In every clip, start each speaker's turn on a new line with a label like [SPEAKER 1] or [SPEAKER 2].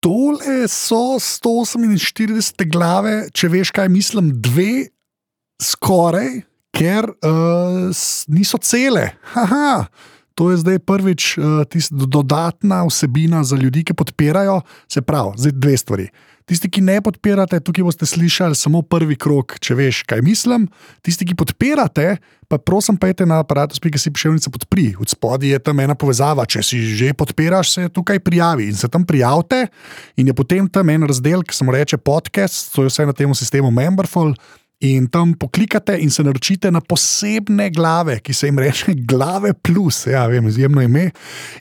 [SPEAKER 1] Tole so 148 glave, če veš, kaj mislim, dve skoraj, ker uh, niso cele. Haha. To je zdaj prvič uh, dodatna vsebina za ljudi, ki podpirajo. Se pravi, zdaj dve stvari. Tisti, ki ne podpirate, tukaj boste slišali samo prvi krok, če veš, kaj mislim. Tisti, ki podpirate, pa prosim, pejte na aparatus.si piševnica podpri. Od spodaj je tam ena povezava, če si že podpiraš, se tukaj prijavi in se tam prijavite. In je potem tam en razdelek, ki se mu reče podcast, to je vse na tem sistemu Memberful. In tam poklikate in se naročite na posebne glave, ki se jim reče Glave Plus, ja, vem, izjemno ime.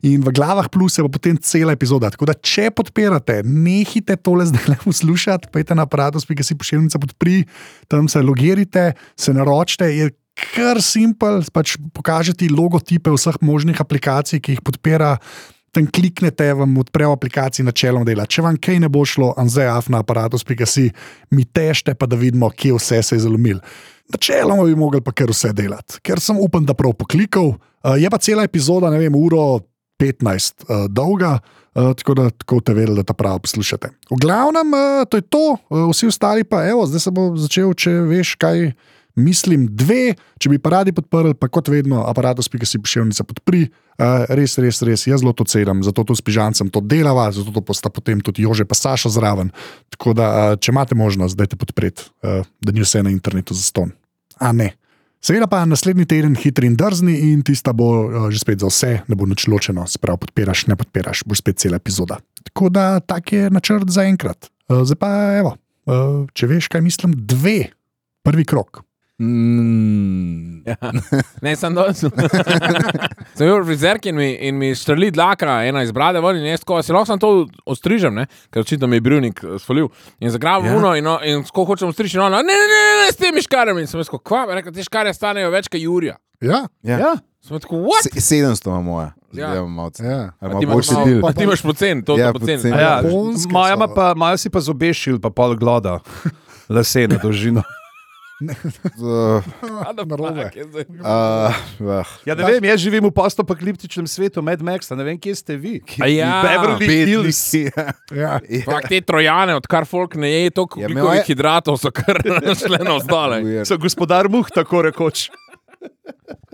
[SPEAKER 1] In v Glavah Plus je potem cela epizoda. Tako da, če podpirate, nehite tole zdaj le poslušati, pejte na aparatus.com, si pošiljnica podpri, tam se logirite, se naročite. Je kar simpel, pač pokažete logotipe vseh možnih aplikacij, ki jih podpira tam kliknete, vam odpre v aplikaciji načelom dela. Če vam kaj ne bo šlo, anzeaf na aparatus.si, mi tešte, pa da vidimo, kje vse se je zalomil. Načeloma bi mogli pa kar vse delati, ker sem upam, da prav poklikal. Je pa cela epizoda, ne vem, uro 15 uh, dolga, uh, tako da tako te vedeli, da ta prav poslušate. V glavnem, uh, to je to, uh, vsi ostali pa, evo, zdaj se bo začel, če veš, kaj mislim, dve, če bi pa radi podprli, pa kot vedno, aparatus.si pošiljnica podpri. Uh, res, res, res, jaz zelo to cenim, zato to s pižancem to delava, zato to posta potem tudi Jože, pa Saša zraven. Tako da, uh, če imate možnost, dajte podpreti, uh, da ni vse na internetu za ston. A ne. Seveda pa naslednji teden hitri in drzni in tista bo uh, že spet za vse, ne bo nič ločeno, sprav podpiraš, ne podpiraš, boš spet cela epizoda. Tako da tak je načrt za enkrat. Uh, zdaj pa evo, uh, če veš, kaj mislim, dve, prvi krok.
[SPEAKER 2] Mm.
[SPEAKER 3] Ja. Ne, sem dol. sem bil v frizerki in mi, in mi štrli dlaka, ena iz brade ven in jaz tako, se lahko sem to ostrižem, ne? ker očitno mi je brivnik sfolil. In zagrabim
[SPEAKER 1] Ja.
[SPEAKER 3] ja. uno in, o- in tako hočem ostriči, no, ne, ne, ne, ne, ne, s temi škarami. In sem jaz tako, kva, rekel, te škare stanejo več kot Jurija.
[SPEAKER 1] Ja,
[SPEAKER 2] Ja. ja.
[SPEAKER 3] Sem tako, what?
[SPEAKER 2] Se- 700 ima moja,
[SPEAKER 3] Ja.
[SPEAKER 2] zdaj imamo malce.
[SPEAKER 1] ja.
[SPEAKER 2] Ali
[SPEAKER 3] A
[SPEAKER 2] ima
[SPEAKER 3] ti imaš
[SPEAKER 2] boljši
[SPEAKER 3] malo-
[SPEAKER 2] del?
[SPEAKER 3] a ti imaš pocen, to
[SPEAKER 2] Ja,
[SPEAKER 3] je pocen.
[SPEAKER 2] poceni.
[SPEAKER 3] Ja.
[SPEAKER 4] Ja,
[SPEAKER 1] Japonske
[SPEAKER 4] moja
[SPEAKER 1] so.
[SPEAKER 4] ima pa malo si pa zobešil, pa pol gloda, lase na dolžino.
[SPEAKER 2] Uh,
[SPEAKER 1] Narobe.
[SPEAKER 2] ah, ah.
[SPEAKER 4] Ja, ne vem, jaz živim v postopakliptičnem svetu, Mad Max, ne vem, kje ste vi.
[SPEAKER 3] A ja.
[SPEAKER 4] Beverly Hills.
[SPEAKER 2] Ja.
[SPEAKER 1] Ja.
[SPEAKER 3] Fak te trojane, odkar folk ne je toliko
[SPEAKER 2] Ja,
[SPEAKER 3] ja,
[SPEAKER 2] imel
[SPEAKER 3] oglikovih
[SPEAKER 2] je-
[SPEAKER 3] hidratov, so kar šle na vzdale.
[SPEAKER 2] Weird.
[SPEAKER 4] So gospodar muh, tako rekoč.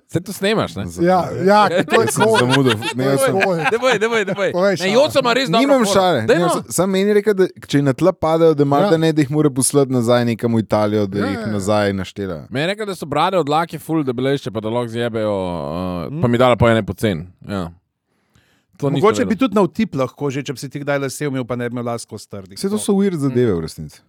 [SPEAKER 3] Se to snemaš, ne?
[SPEAKER 1] Ja, ja, to je
[SPEAKER 2] Jaz sem zamudil. Ne, jaz sem,
[SPEAKER 1] to. je-
[SPEAKER 3] Ne boj, ne boj, ne boj.
[SPEAKER 1] Povej šalo.
[SPEAKER 3] Ne, Joco ima res dobro.
[SPEAKER 2] nimam
[SPEAKER 3] formo.
[SPEAKER 2] šale.
[SPEAKER 3] Daj,
[SPEAKER 2] nimam
[SPEAKER 3] no.
[SPEAKER 2] sa- Sam meni reče, da če na tla padajo, da,
[SPEAKER 1] Ja.
[SPEAKER 2] ja. da, ne, da jih mora poslati nazaj nekam v Italijo, da
[SPEAKER 1] Ja,
[SPEAKER 2] jih
[SPEAKER 1] ja.
[SPEAKER 2] nazaj naštela.
[SPEAKER 3] Me je rekel, da so brade od lake ful, da belešče, pa da lahko zjebejo, uh, mm. pa mi dala pa ene pocen. Ja. To ni
[SPEAKER 4] Mogoče bi tudi na vtip lahko, že, če bi si ti kdaj lase umil, pa ne bi imel lasko strdih.
[SPEAKER 2] Vse to
[SPEAKER 3] No.
[SPEAKER 2] so uir zadeve
[SPEAKER 3] Mm.
[SPEAKER 2] v resnici.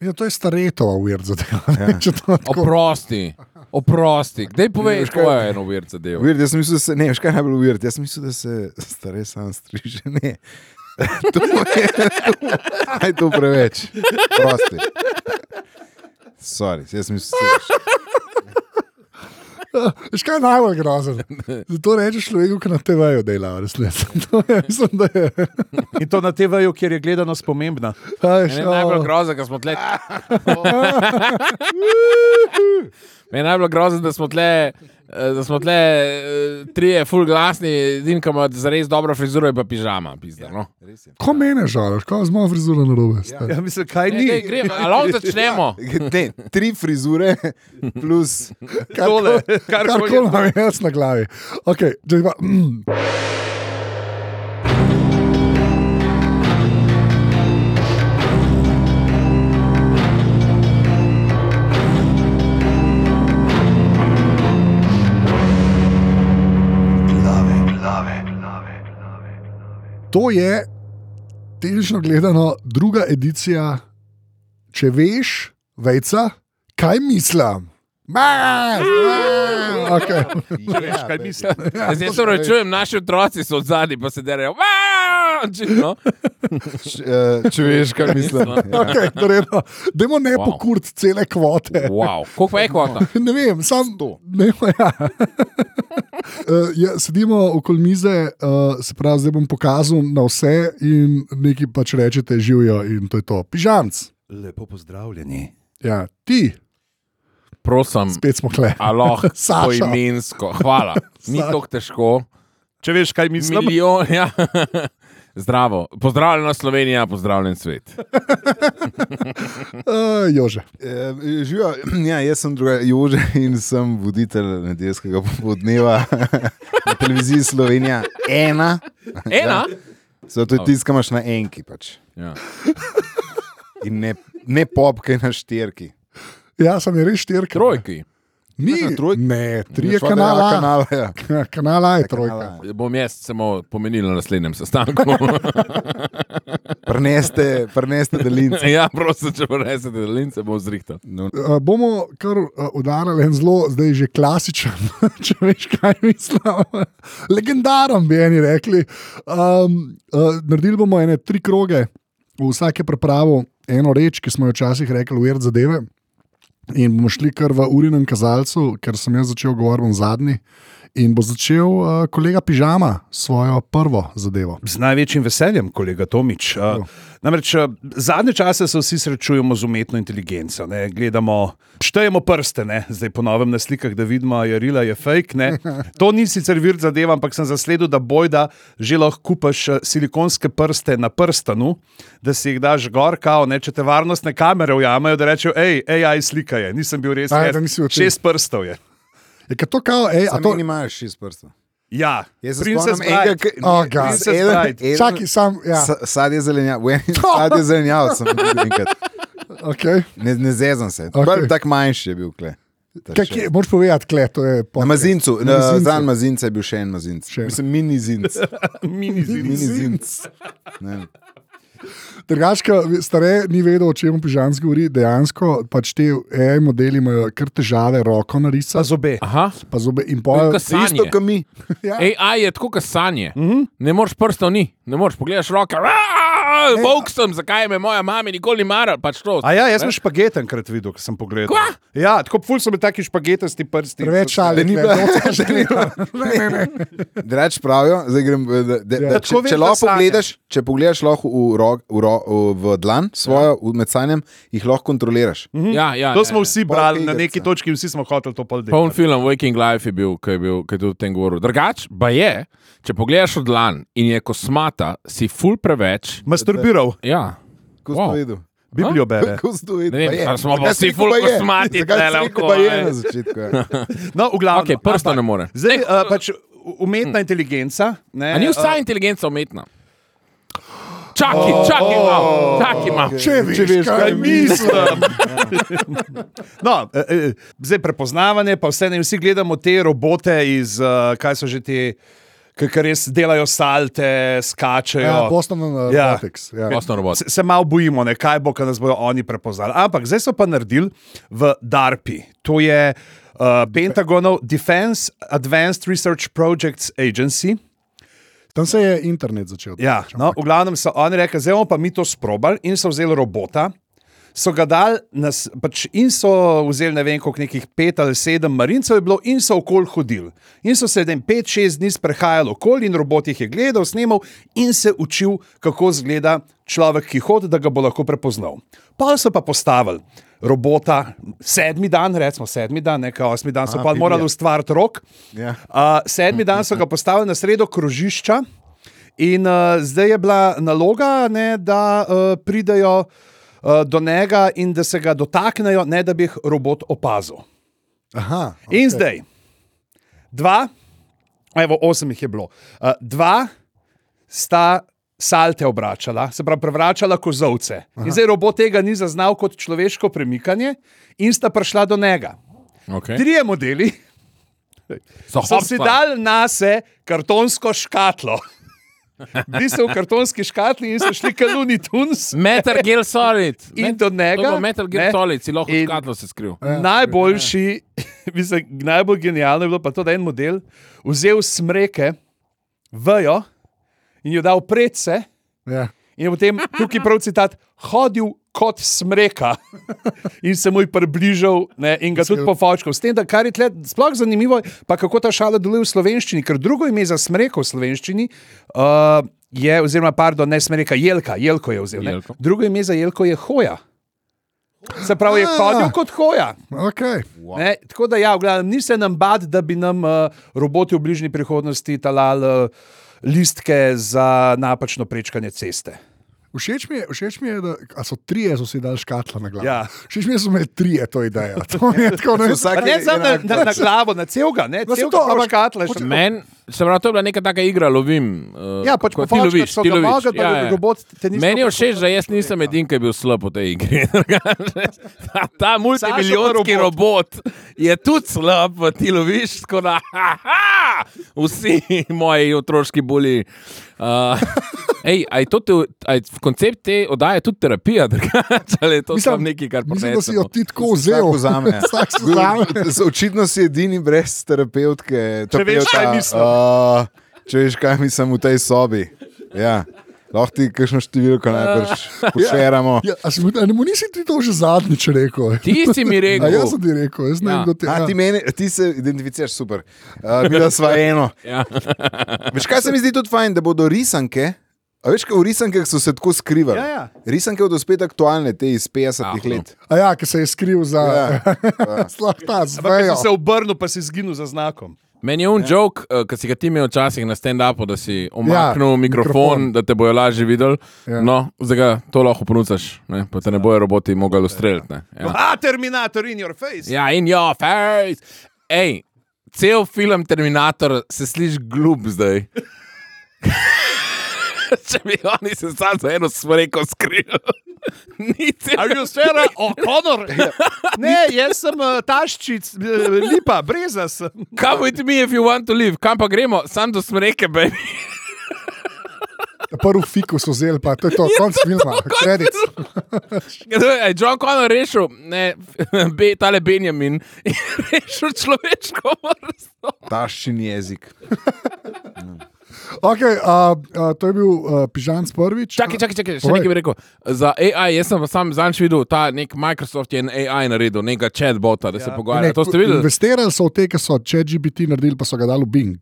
[SPEAKER 1] Ja, to je staretova weird zadeva. ne, če to tako-
[SPEAKER 3] Oprosti, oprosti. Kdaj poveš, kako je eno vir zadev?
[SPEAKER 2] Weird, jaz sem mislil, da se, ne, veš kaj je najbolj weird, jaz sem mislil, da se stare sam striže, ne. to je, to, aj to preveč, prosti. Sorry, jaz sem mislil, da se
[SPEAKER 1] Veš kaj je najbolj grozen? Zato rečeš človeku, ki na TV-ju dela, resnici. To je, mislim, da je.
[SPEAKER 4] In to na TV-ju, kjer je gledanost pomembna.
[SPEAKER 1] a veš,
[SPEAKER 3] Meni je
[SPEAKER 1] o,
[SPEAKER 3] najbolj grozno, da smo tle. Meni je najbolj grozno, da smo tle. eh, Da smo tle eh, trije, full glasni, edini, ki ima zares dobro frizuro, je pa pižama. Pizda, no.
[SPEAKER 1] Ko mene žališ, ko z mojo frizuro na robe. Ja.
[SPEAKER 4] Ja, mislim, kaj
[SPEAKER 3] Ne, daj,
[SPEAKER 4] ni?
[SPEAKER 3] gremo, ali lahko začnemo.
[SPEAKER 2] ne, tri frizure plus
[SPEAKER 4] Tole, kar
[SPEAKER 1] Kar koli imam jaz na glavi. Okay, zdaj pa, mm, to je, tehnično gledano, druga edicija, če veš, vejca, kaj mislim. Baz, baz, okay.
[SPEAKER 4] Če veš, kaj mislim.
[SPEAKER 3] Zdaj se rečujem, torej naši otroci so odzadi, pa se derajo. "Wow!" Očitno.
[SPEAKER 2] Č- eh, Če veš, kaj mislim. Ja.
[SPEAKER 1] Okay, Dajmo ne wow.
[SPEAKER 3] Wow.
[SPEAKER 1] pokuriti cele kvote.
[SPEAKER 3] Wow, koliko pa je kvota?
[SPEAKER 1] Ne vem, sam
[SPEAKER 2] Sto.
[SPEAKER 1] Ne, ja. uh, ja, sedimo okoli mize, uh, se pravi, zdaj bom pokazal na vse in nekaj pač rečete, živijo in to je to. Pižamc,
[SPEAKER 4] Lepo pozdravljeni.
[SPEAKER 1] ja, ti,
[SPEAKER 3] Prosim,
[SPEAKER 1] spet smo kle.
[SPEAKER 3] aloh,
[SPEAKER 1] Saša.
[SPEAKER 3] poimensko. Hvala. Ni
[SPEAKER 1] Saša.
[SPEAKER 3] tako težko.
[SPEAKER 4] Če veš, kaj mislim.
[SPEAKER 3] Milijon, ja. Zdravo, pozdravljena Slovenija, pozdravljen svet.
[SPEAKER 1] Uh, Jože.
[SPEAKER 2] Eh, Živijo, ja, jaz sem drugačen, Jože in sem voditelj nedeljskega podneva na televiziji Slovenija. Ena,
[SPEAKER 3] Ena?
[SPEAKER 2] zato je tiskam na enki pač.
[SPEAKER 3] Ja.
[SPEAKER 2] in ne, ne popke na štirki.
[SPEAKER 1] Ja, sem je res štirka.
[SPEAKER 3] Trojki.
[SPEAKER 1] Ni,
[SPEAKER 2] Na trojki?
[SPEAKER 1] ne, tri je
[SPEAKER 2] Šla da
[SPEAKER 1] kanala.
[SPEAKER 2] je kanala ja.
[SPEAKER 1] Ja, Kanala je trojka.
[SPEAKER 2] Kanala.
[SPEAKER 3] Bom jaz samo pomenil na naslednjem sestanku.
[SPEAKER 2] Preneste, preneste delince.
[SPEAKER 3] ja, prosim, če ponesete delince, bom zrihtal.
[SPEAKER 1] Uh, bomo kar uh, udarili en zelo, zdaj že klasičen, če veš, kaj mislim. Legendaren bi eni rekli. Um, uh, naredili bomo ene tri kroge, v vsake pripravo eno reč, ki smo jo včasih rekli, ured zadeve. In bomo šli kar v urinem kazalcu, ker sem jaz začel govoriti zadnji. In bo začel uh, kolega Pižama svojo prvo zadevo.
[SPEAKER 4] Z največjim veseljem, kolega Tomič. Uh, namreč uh, zadnje čase se vsi srečujemo z umetno inteligenco. Ne? Gledamo, štejemo prste, ne? zdaj ponovim na slikah, da vidimo, da je rila je fake. Ne? To ni sicer vir zadeva, ampak sem zasledil, da bojda že lahko kupaš uh, silikonske prste na prstanu, da si jih daš gor, kao, ne? če te varnostne kamere ujamejo, da rečejo, hej, AI slika je, nisem bil res.
[SPEAKER 1] Aj,
[SPEAKER 4] jaz.
[SPEAKER 1] da nisi bil ti.
[SPEAKER 4] Šest prstov je.
[SPEAKER 1] Je ka to kao, ej, a
[SPEAKER 2] A to
[SPEAKER 1] to
[SPEAKER 2] ni imaš šest prstov.
[SPEAKER 4] Ja,
[SPEAKER 2] Jaz sem
[SPEAKER 4] Princess
[SPEAKER 2] spomnim enega,
[SPEAKER 4] Bride.
[SPEAKER 2] ki-
[SPEAKER 1] Oh,
[SPEAKER 2] ne,
[SPEAKER 1] God.
[SPEAKER 2] Princess
[SPEAKER 4] Princess
[SPEAKER 2] Bride,
[SPEAKER 4] Bride.
[SPEAKER 2] eden-
[SPEAKER 1] Čakaj, sam, ja,
[SPEAKER 2] sa- Sad je zelenjav, v enem sad je zelenjav, sem videl enkrat.
[SPEAKER 1] okay.
[SPEAKER 2] Ne, ne zezam se.
[SPEAKER 1] Okej.
[SPEAKER 2] Okay. Tako manjši je bil kle. Ta
[SPEAKER 1] Kaj,
[SPEAKER 2] še-
[SPEAKER 1] kje, moraš povedati, kle, to je
[SPEAKER 2] Na mazincu,
[SPEAKER 1] Na Mazincu.
[SPEAKER 2] za en mazinec je bil še en mazinec.
[SPEAKER 1] Še en.
[SPEAKER 2] Mislim, mini zinc.
[SPEAKER 4] No, mini zid.
[SPEAKER 2] Mini zinc.
[SPEAKER 1] Drugačka, stare ni vedel, o čem pižamski govori. Dejansko pač te AI modeli imajo kar težave, roko
[SPEAKER 4] Pa
[SPEAKER 1] narisati,
[SPEAKER 4] zobe.
[SPEAKER 3] Aha,
[SPEAKER 1] pa zobe in pol.
[SPEAKER 3] Kaj si- Sanje.
[SPEAKER 2] Isto, kot mi.
[SPEAKER 3] AI je tako, kot sanje. Mm
[SPEAKER 4] Mhm.
[SPEAKER 3] -hmm. Ne moreš prstov ni, ne moreš pogledaš roke. Vok sem, zakaj me moja mama nikoli ni mara, pač to.
[SPEAKER 4] A ja, jaz sem špaget enkrat videl, ko sem pogledal.
[SPEAKER 3] Kva?
[SPEAKER 4] Ja, tako ful so mi taki špagetasti prsti.
[SPEAKER 1] Preveč ali no, ni bilo, da ni bilo.
[SPEAKER 2] Drač pravijo, zdaj grem. eh, Da, da, da, če,
[SPEAKER 4] Tako veš,
[SPEAKER 2] če
[SPEAKER 4] da
[SPEAKER 2] lahko
[SPEAKER 4] sanje.
[SPEAKER 2] pogledaš, če pogledaš lahko v, ro, v, ro, v dlan svojo, v med sanjem, jih lahko kontroliraš.
[SPEAKER 3] Ja, ja,
[SPEAKER 4] Mhm. To
[SPEAKER 3] ja,
[SPEAKER 4] smo
[SPEAKER 3] ja.
[SPEAKER 4] vsi brali na
[SPEAKER 2] Poln
[SPEAKER 4] neki
[SPEAKER 2] igrica.
[SPEAKER 4] točki, vsi smo hoteli to pol
[SPEAKER 3] Poln
[SPEAKER 4] delati.
[SPEAKER 3] film Waking Life je bil, ki je bil, ki je tudi o tem govoril. Drugač, pa je, če pogledaš od lan in je kosmata, si ful preveč.
[SPEAKER 4] Masturbiral,
[SPEAKER 3] Ja.
[SPEAKER 2] Kako si to
[SPEAKER 3] Wow.
[SPEAKER 2] videl?
[SPEAKER 4] Biblijo bere.
[SPEAKER 2] Kako si to videl?
[SPEAKER 3] Ne vem,
[SPEAKER 2] Pa je.
[SPEAKER 3] ali smo pa
[SPEAKER 2] Zakaj si
[SPEAKER 3] vsi
[SPEAKER 2] rekel,
[SPEAKER 3] ful
[SPEAKER 2] pa je?
[SPEAKER 3] kosmati,
[SPEAKER 2] Zakaj si
[SPEAKER 3] tele,
[SPEAKER 2] rekel,
[SPEAKER 3] ko
[SPEAKER 2] pa je
[SPEAKER 3] je?
[SPEAKER 2] na začetku? ja?
[SPEAKER 4] No, v glavnem.
[SPEAKER 3] Okej, prsta ne more.
[SPEAKER 4] Zdaj, uh, pač umetna inteligenca. Ne,
[SPEAKER 3] A ni
[SPEAKER 4] eh,
[SPEAKER 3] vsa inteligenca umetna? Čakaj, čakaj, malo,
[SPEAKER 4] Oh,
[SPEAKER 3] čakaj, malo.
[SPEAKER 1] Če veš, če veš kaj, kaj misliš.
[SPEAKER 4] No, eh, eh, zdaj prepoznavanje, pa vse ne vsi gledamo te robote iz, eh, kaj so že ti, ki ki res delajo salte,
[SPEAKER 1] Ja,
[SPEAKER 4] skačejo.
[SPEAKER 1] Boston uh,
[SPEAKER 4] Ja.
[SPEAKER 1] ja. Robotics. Ja.
[SPEAKER 3] Osno robot.
[SPEAKER 4] Se, se malo bojimo, ne, kaj bo, kaj nas bodo oni prepoznali. Ampak zdaj so pa naredili v DARPI, to je uh, Pentagonov Defense Advanced Research Projects Agency.
[SPEAKER 1] Tam se je internet začel.
[SPEAKER 4] Ja, no, v glavnem so oni rekli, zdaj bomo pa mi to sprobali in so vzeli robota. So ga dali nas, pač in so vzeli ne vem, koliko nekih pet ali sedem marincev je bilo, in so okol hodili. In so se en pet, šest dni sprehajali okoli, in robot jih je gledal, snimal in se učil, kako izgleda človek, ki hodi, da ga bo lahko prepoznal. Pa so pa postavili robota, sedmi dan, recimo sedmi dan, ne kaj osmi dan, so pa morali ustvariti rok.
[SPEAKER 2] Ja.
[SPEAKER 4] Uh, sedmi dan so ga postavili na sredo krožišča in uh, zdaj je bila naloga, ne, da uh, pridejo uh, do njega in da se ga dotaknejo, ne da bi jih robot opazil.
[SPEAKER 1] Aha,
[SPEAKER 4] Okay. In zdaj, dva, evo, osem jih je bilo, uh, dva sta. Salte obračala, se pravi, prevračala kozovce. In zdaj robot tega ni zaznal kot človeško premikanje, in sta prišla do njega.
[SPEAKER 3] Okay.
[SPEAKER 4] Trije modeli
[SPEAKER 3] So,
[SPEAKER 4] so si dal na se kartonsko škatlo. Bili so v kartonski škatli in so šli kaluni Tunis.
[SPEAKER 3] Meter gel solid.
[SPEAKER 4] In do njega,
[SPEAKER 3] Meter
[SPEAKER 4] ne.
[SPEAKER 3] gel solid, si lahko
[SPEAKER 4] In-
[SPEAKER 3] in... škatlo se skril.
[SPEAKER 4] Najboljši, mislim, najbolj genialno je bilo pa to, da je en model vzel smreke, vejo in jo dal predse.
[SPEAKER 1] ja.
[SPEAKER 4] In je potem tukaj prav citat, hodil kot smreka in se mu je približal ne, in ga tudi pofočkal. S tem, da kar je tle, sploh zanimivo, pa kako ta šala deluje v slovenščini, ker drugo ime za smreko v slovenščini uh, je, oziroma, pardon, ne smreka, jelka, jelko je vzel. Ne.
[SPEAKER 3] Jelko.
[SPEAKER 4] Drugo ime za jelko je hoja. Se pravi, je hodil kot hoja.
[SPEAKER 1] Okay.
[SPEAKER 4] Ne, tako eh, da, ja, v glavnem, ni se nam bad, da bi nam uh, roboti v bližnji prihodnosti talali uh, listke za napačno prečkanje ceste.
[SPEAKER 1] Všeč mi je, všeč mi je da a so trije, so si dali škatla na glavo.
[SPEAKER 4] Ja.
[SPEAKER 1] Všeč mi je, da so imeli trije to idejo. To mi je tako ne.
[SPEAKER 4] Pa
[SPEAKER 2] Vsak
[SPEAKER 4] Ne samo na, na, na glavo, na celega, ne
[SPEAKER 1] No, saj
[SPEAKER 4] celega,
[SPEAKER 1] to,
[SPEAKER 4] pa
[SPEAKER 1] ampak-
[SPEAKER 4] škatle. še-
[SPEAKER 3] Meni se pravi, to je bila neka taka igra, lovim. Uh,
[SPEAKER 4] Ja, pač
[SPEAKER 3] ko ti
[SPEAKER 4] pofačkati
[SPEAKER 3] loviš,
[SPEAKER 4] so
[SPEAKER 3] ti
[SPEAKER 4] ga
[SPEAKER 3] loviš. ja,
[SPEAKER 4] noge, pa da bi robot te ni
[SPEAKER 3] Meni je
[SPEAKER 4] spopal.
[SPEAKER 3] všeč, da jaz nisem edin, ki je bil slab v tej igri. ta, ta multimilijonski
[SPEAKER 4] Sašo pa
[SPEAKER 3] robot je tudi slab, pa ti loviš tako na haha, vsi moji otroški boli. Uh, Ej, a je to te, a je koncept te oddaje tudi terapija, drugače ali je to
[SPEAKER 1] Mislim-
[SPEAKER 3] samo nekaj, kar no.
[SPEAKER 1] Mislim, da si jo
[SPEAKER 3] pomeni?
[SPEAKER 1] ti tako vzel.
[SPEAKER 2] vzame. ja.
[SPEAKER 1] Vsak si vzame.
[SPEAKER 2] Očitno si edini brez terapeutke.
[SPEAKER 4] Če veš, kaj
[SPEAKER 2] terapeuta,
[SPEAKER 4] mislim.
[SPEAKER 2] a, če veš, kaj mislim v tej sobi. Ja. Lahko ti kakšno številko najbrž pošeramo.
[SPEAKER 1] Ja, a si mu- a ne mu nisi ti to že zadnjič rekel?
[SPEAKER 3] Ti si mi rekel.
[SPEAKER 1] A jaz sem ti rekel, jaz ne
[SPEAKER 3] Ja.
[SPEAKER 1] vem, kdo ti
[SPEAKER 2] A, ti, meni, ti se identificiraš super, uh, mi da sva eno.
[SPEAKER 3] Ja.
[SPEAKER 2] Veš, kaj se mi zdi tudi fajn, da bodo risanke. A veš, kaj v risankah so se tako skrivali.
[SPEAKER 4] Ja, ja.
[SPEAKER 2] Risanke bodo spet aktualne, te iz 50-ih
[SPEAKER 3] Ah, no.
[SPEAKER 2] let.
[SPEAKER 1] A ja, ki se je skril za.
[SPEAKER 2] Ja,
[SPEAKER 1] Slah ta
[SPEAKER 4] Ampak
[SPEAKER 1] zvejo.
[SPEAKER 4] ko si se obrnil, pa si zginil za znakom.
[SPEAKER 3] Meni je un jok, ki si ga ti imel včasih na stand-upu, da si omaknil ja, mikrofon,
[SPEAKER 1] mikrofon.
[SPEAKER 3] mikrofon, da te bojo lažje videli.
[SPEAKER 1] Ja.
[SPEAKER 3] Ja. No, zdaj ga to lahko ponucaš, ne? pa te ne bojo roboti mogli ustreliti. ne. Ja.
[SPEAKER 4] A, Terminator in your face.
[SPEAKER 3] ja, in jo, face. Ej, cel film Terminator se sliši glup zdaj. Če bi oni se sam za eno smreko skrili, ni cel.
[SPEAKER 4] Are you Sarah O'Connor?
[SPEAKER 1] Ja.
[SPEAKER 4] Ne, jaz sem eh, taščic, eh, lipa, breza sem.
[SPEAKER 3] Come with me if you want to live, kam pa gremo, sam do smreke, baby.
[SPEAKER 1] Prvi fikus vzel, pa to je
[SPEAKER 3] Ja,
[SPEAKER 1] to, konc filma, kredit.
[SPEAKER 3] Kdo je John Connor rešil, ne, be, tale Benjamin, je rešil človeško vrsto.
[SPEAKER 2] Taščin jezik.
[SPEAKER 1] Okay, a, a, to je bil uh, Pižan prvič.
[SPEAKER 3] Čakaj, čakaj, čakaj, še
[SPEAKER 1] Povej.
[SPEAKER 3] nekaj bi rekel. Za AI, jaz sem sam zadnjič videl, ta nek Microsoft je en AI naredil, nekega chatbota, da se pogovarja. To ste videli?
[SPEAKER 1] Investirali so v te, ki so ChatGPT naredili, pa so ga dali v Bing.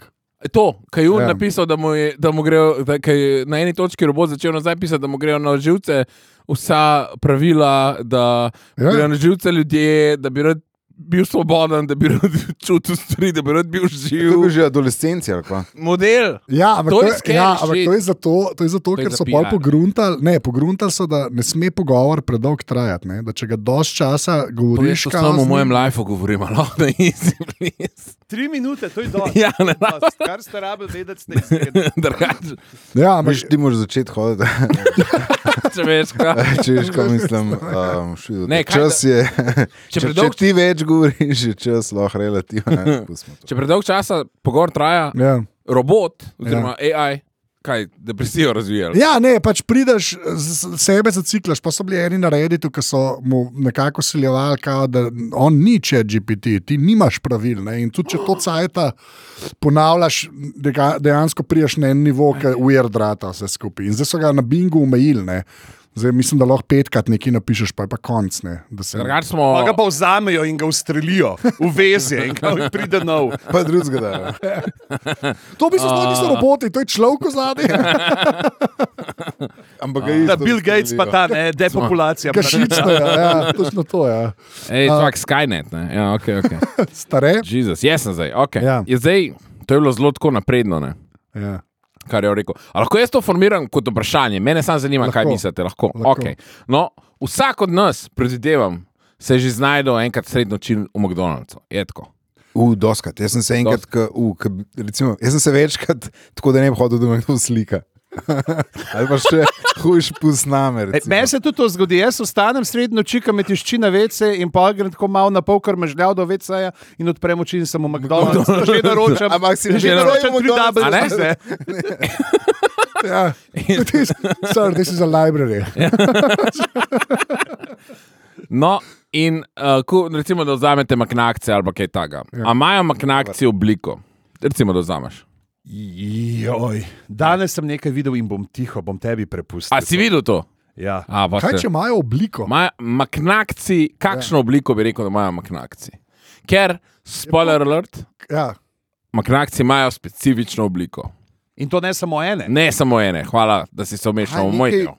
[SPEAKER 3] To, kaj je on
[SPEAKER 1] Ja.
[SPEAKER 3] napisal, da mu, je, da mu grejo, da, kaj je na eni točki robot začel nazaj pisati, da mu grejo na živce vsa pravila, da
[SPEAKER 1] Ja.
[SPEAKER 3] ja. grejo na živce ljudje, da bi rad bil svoboden, da bi rad čutil stvari, da bi rad bil
[SPEAKER 2] To je bil
[SPEAKER 3] živ.
[SPEAKER 2] že adolescenci ali pa.
[SPEAKER 3] Model.
[SPEAKER 1] Ja, ampak
[SPEAKER 3] To
[SPEAKER 1] to,
[SPEAKER 3] je
[SPEAKER 1] je,
[SPEAKER 3] scary
[SPEAKER 1] ja, ampak
[SPEAKER 3] shit.
[SPEAKER 1] to je zato, to je zato
[SPEAKER 3] To je
[SPEAKER 1] ker
[SPEAKER 3] za
[SPEAKER 1] so pol
[SPEAKER 3] PR.
[SPEAKER 1] pogruntali, ne, pogruntali so, da ne sme pogovor predolg trajati. ne, Da če ga dosti časa govoriš,
[SPEAKER 3] Poveš,
[SPEAKER 1] kot
[SPEAKER 3] kot samo v mojem lifeu govorim, ali lahko na easy, please.
[SPEAKER 4] Tri minute, to je dobro.
[SPEAKER 3] Ja, ne, ne.
[SPEAKER 4] Kar ste rabili vedeti, ste izvedeli.
[SPEAKER 3] Drugače,
[SPEAKER 1] Ja, ampak
[SPEAKER 2] Veš, ti moraš začeti hoditi.
[SPEAKER 3] če veš, kaj.
[SPEAKER 2] Če veš, kaj mislim, um, šujo,
[SPEAKER 3] Ne,
[SPEAKER 2] ne,
[SPEAKER 3] kaj
[SPEAKER 2] čas da, je. Če, če
[SPEAKER 3] predolg-
[SPEAKER 2] ti več govoriš, je čas lahko relativno.
[SPEAKER 3] Če predolg časa pogovor traja,
[SPEAKER 1] ja.
[SPEAKER 3] robot, oziroma ja. AI, kaj depresijo razvija. Ja.
[SPEAKER 1] Ja, ne, pač prideš, z- z- sebe zaciklaš. Pa so bili eni na Redditu, ki so mu nekako usiljevali, kao, da on ni če GPT, ti nimaš pravil. Ne? In tudi če to cajta ponavljaš, dega- dejansko priješ na en nivo, ki ujerdrata vse skupaj. In zdaj so ga na Bingu umejili. Ne? Zdaj mislim, da lahko petkrat nekaj napišeš, pa je pa konc. Ne? da se-
[SPEAKER 3] Drugače
[SPEAKER 4] Pa
[SPEAKER 3] smo.
[SPEAKER 4] ga pa vzamejo in ga ustrelijo, uvezje in ga pride nov.
[SPEAKER 2] Pa drugega da. ja.
[SPEAKER 1] To bi se sploh niso roboti, to je človek zadnji.
[SPEAKER 2] Ampak ga isto.
[SPEAKER 4] Da Bill Gates pa ta ne, depopulacija. pa ne.
[SPEAKER 1] Kašično, ja, ja, točno to je. Ja.
[SPEAKER 3] Ej, tvak, Skynet, ne. Ja, ok, ok.
[SPEAKER 1] Stare.
[SPEAKER 3] Jezus, jaz sem zdaj, ok.
[SPEAKER 1] Ja.
[SPEAKER 3] Ja. Je zdaj, to je bilo zelo tako napredno, ne.
[SPEAKER 1] Ja.
[SPEAKER 3] Kar je on rekel. A lahko jaz to formiram kot vprašanje, mene samo zanima, lahko. kaj
[SPEAKER 1] Lahko.
[SPEAKER 3] mislite. Lahko.
[SPEAKER 1] Lahko.
[SPEAKER 3] Lahko. Okay. No, vsak od nas, predvidevam, se je že znašel enkrat srednjo čim v McDonald'su. Je tako.
[SPEAKER 2] U, doskrat. Jaz sem se enkrat, k, u, k, recimo, jaz sem se večkrat, tako da ne bi hodil, da me kdo slika. Ali pa še hujš pusnamer.
[SPEAKER 4] E, Meni se tudi to zgodi, jaz ostanem sredi noči, kam tišči na vece in pa grem tako malo na pol, ker mežljal do veceja in odprem oči in sem v McDonald's. Že naročam,
[SPEAKER 2] Ampak si
[SPEAKER 4] že
[SPEAKER 2] že
[SPEAKER 4] naročam
[SPEAKER 2] naročil
[SPEAKER 4] tri
[SPEAKER 2] McDonald's,
[SPEAKER 3] a ne?
[SPEAKER 4] dubeltne.
[SPEAKER 1] Ja. This, sir, this is a library.
[SPEAKER 3] No, in uh, ko, recimo, da vzamete maknakce ali pa kaj takega. Ja. A imajo maknakci obliko? Recimo, da vzameš.
[SPEAKER 4] Joj, danes sem nekaj videl in bom tiho, bom tebi prepustil.
[SPEAKER 3] A si videl to?
[SPEAKER 4] Ja.
[SPEAKER 3] A, pa
[SPEAKER 1] Kaj
[SPEAKER 3] se-
[SPEAKER 1] če imajo obliko?
[SPEAKER 3] Imajo maknakci, kakšno ja. obliko bi rekel, da imajo maknakci? Ker, spoiler alert,
[SPEAKER 1] Ja.
[SPEAKER 3] maknakci imajo specifično obliko.
[SPEAKER 4] In to ne samo ene.
[SPEAKER 3] Ne samo ene, hvala, da si se
[SPEAKER 2] Aj,
[SPEAKER 3] omešal v
[SPEAKER 2] nekaj-
[SPEAKER 3] moj del.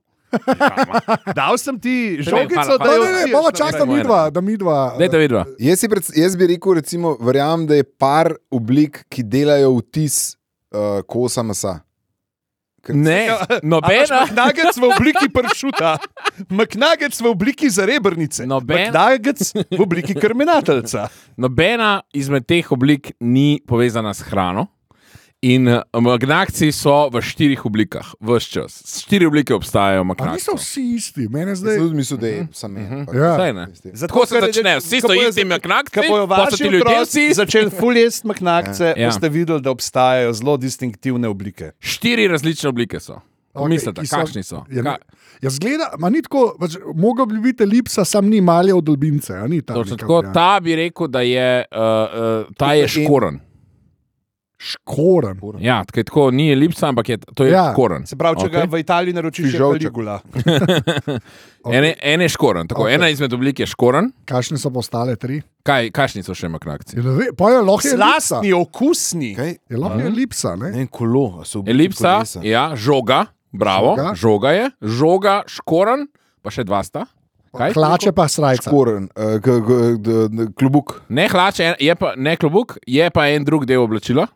[SPEAKER 4] Dal sem ti
[SPEAKER 3] hvala,
[SPEAKER 4] žogico, da
[SPEAKER 3] hvala.
[SPEAKER 1] Ne,
[SPEAKER 4] jo
[SPEAKER 1] ne, ne, bova čas, da
[SPEAKER 3] Dajmo
[SPEAKER 1] mi dva, da eh, mi dva.
[SPEAKER 3] Dajte vidva.
[SPEAKER 2] Jaz, si pred, jaz bi rekel, recimo, verjamem, da je par oblik, ki delajo vtis uh, eh, kosa mesa.
[SPEAKER 3] Ne, nobena.
[SPEAKER 4] Nagec v obliki pršuta, McNagec v obliki zarebrnice,
[SPEAKER 3] Noben-
[SPEAKER 4] McNagec v obliki krmenateljca.
[SPEAKER 3] Nobena izmed teh oblik ni povezana s hrano. In eh, magnakci so v štirih oblikah, vse čas. Štiri oblike obstajajo,
[SPEAKER 1] Pa niso
[SPEAKER 3] magnakci.
[SPEAKER 1] vsi isti, mene zdaj.
[SPEAKER 2] Zdaj mislim, da je samo en. pač.
[SPEAKER 1] Ja.
[SPEAKER 3] Mhm. Saj ne.
[SPEAKER 4] Zato,
[SPEAKER 3] Tako se
[SPEAKER 4] ker-
[SPEAKER 3] začne, vsi
[SPEAKER 4] ko
[SPEAKER 3] so
[SPEAKER 4] bojo
[SPEAKER 3] isti
[SPEAKER 4] za-
[SPEAKER 3] magnakci,
[SPEAKER 4] ko bojo
[SPEAKER 3] pa so
[SPEAKER 4] vaši
[SPEAKER 3] ti ljudje
[SPEAKER 4] otroci
[SPEAKER 3] vsi-
[SPEAKER 4] začeli fuljest magnakce,
[SPEAKER 3] Ja.
[SPEAKER 4] boste videli, da obstajajo zelo distinktivne oblike.
[SPEAKER 3] Štiri različne oblike so. Okay, Mislite,
[SPEAKER 1] ki
[SPEAKER 3] kakšni so?
[SPEAKER 1] Ja,
[SPEAKER 3] Ka,
[SPEAKER 1] ne- ja zgleda, ma ni tako, pač, mogel bi biti elipsa, sam ni malje od dolbince. a Ni ta, ja.
[SPEAKER 3] točno
[SPEAKER 1] neka
[SPEAKER 3] tako,
[SPEAKER 1] varianta.
[SPEAKER 3] ta bi rekel, da je, uh, uh, ta je škoren.
[SPEAKER 1] Škoren.
[SPEAKER 3] Ja, tako je tako ni elipsa, ampak je, to je
[SPEAKER 1] Ja.
[SPEAKER 3] ja. škoren.
[SPEAKER 4] Se pravi, če okay. ga
[SPEAKER 3] Okej.
[SPEAKER 4] v Italiji naročiš, je
[SPEAKER 2] Fižolček.
[SPEAKER 4] žolčegula.
[SPEAKER 3] Ene, ene škoren, tako
[SPEAKER 1] Okej.
[SPEAKER 3] okay. ena izmed oblik je škoren.
[SPEAKER 1] Kakšne so postale tri?
[SPEAKER 3] Kaj, kakšni so še magnakci?
[SPEAKER 1] Pojo, lahko je elipsa.
[SPEAKER 4] Slastni, okusni.
[SPEAKER 2] Kaj?
[SPEAKER 1] Je
[SPEAKER 3] Mhm.
[SPEAKER 1] lahko je elipsa, ne?
[SPEAKER 2] En kolo, a so oblike
[SPEAKER 3] Elipsa,
[SPEAKER 2] kolesa?
[SPEAKER 3] ja, žoga, bravo,
[SPEAKER 1] Žoga.
[SPEAKER 3] žoga, žoga je, žoga, škoren, pa še dva sta. Kaj?
[SPEAKER 1] Hlače pa srajca.
[SPEAKER 2] Škoren, eh, k- k- d- d- klobuk.
[SPEAKER 3] Ne hlače, en- je pa ne klobuk, je pa en drug del oblačila.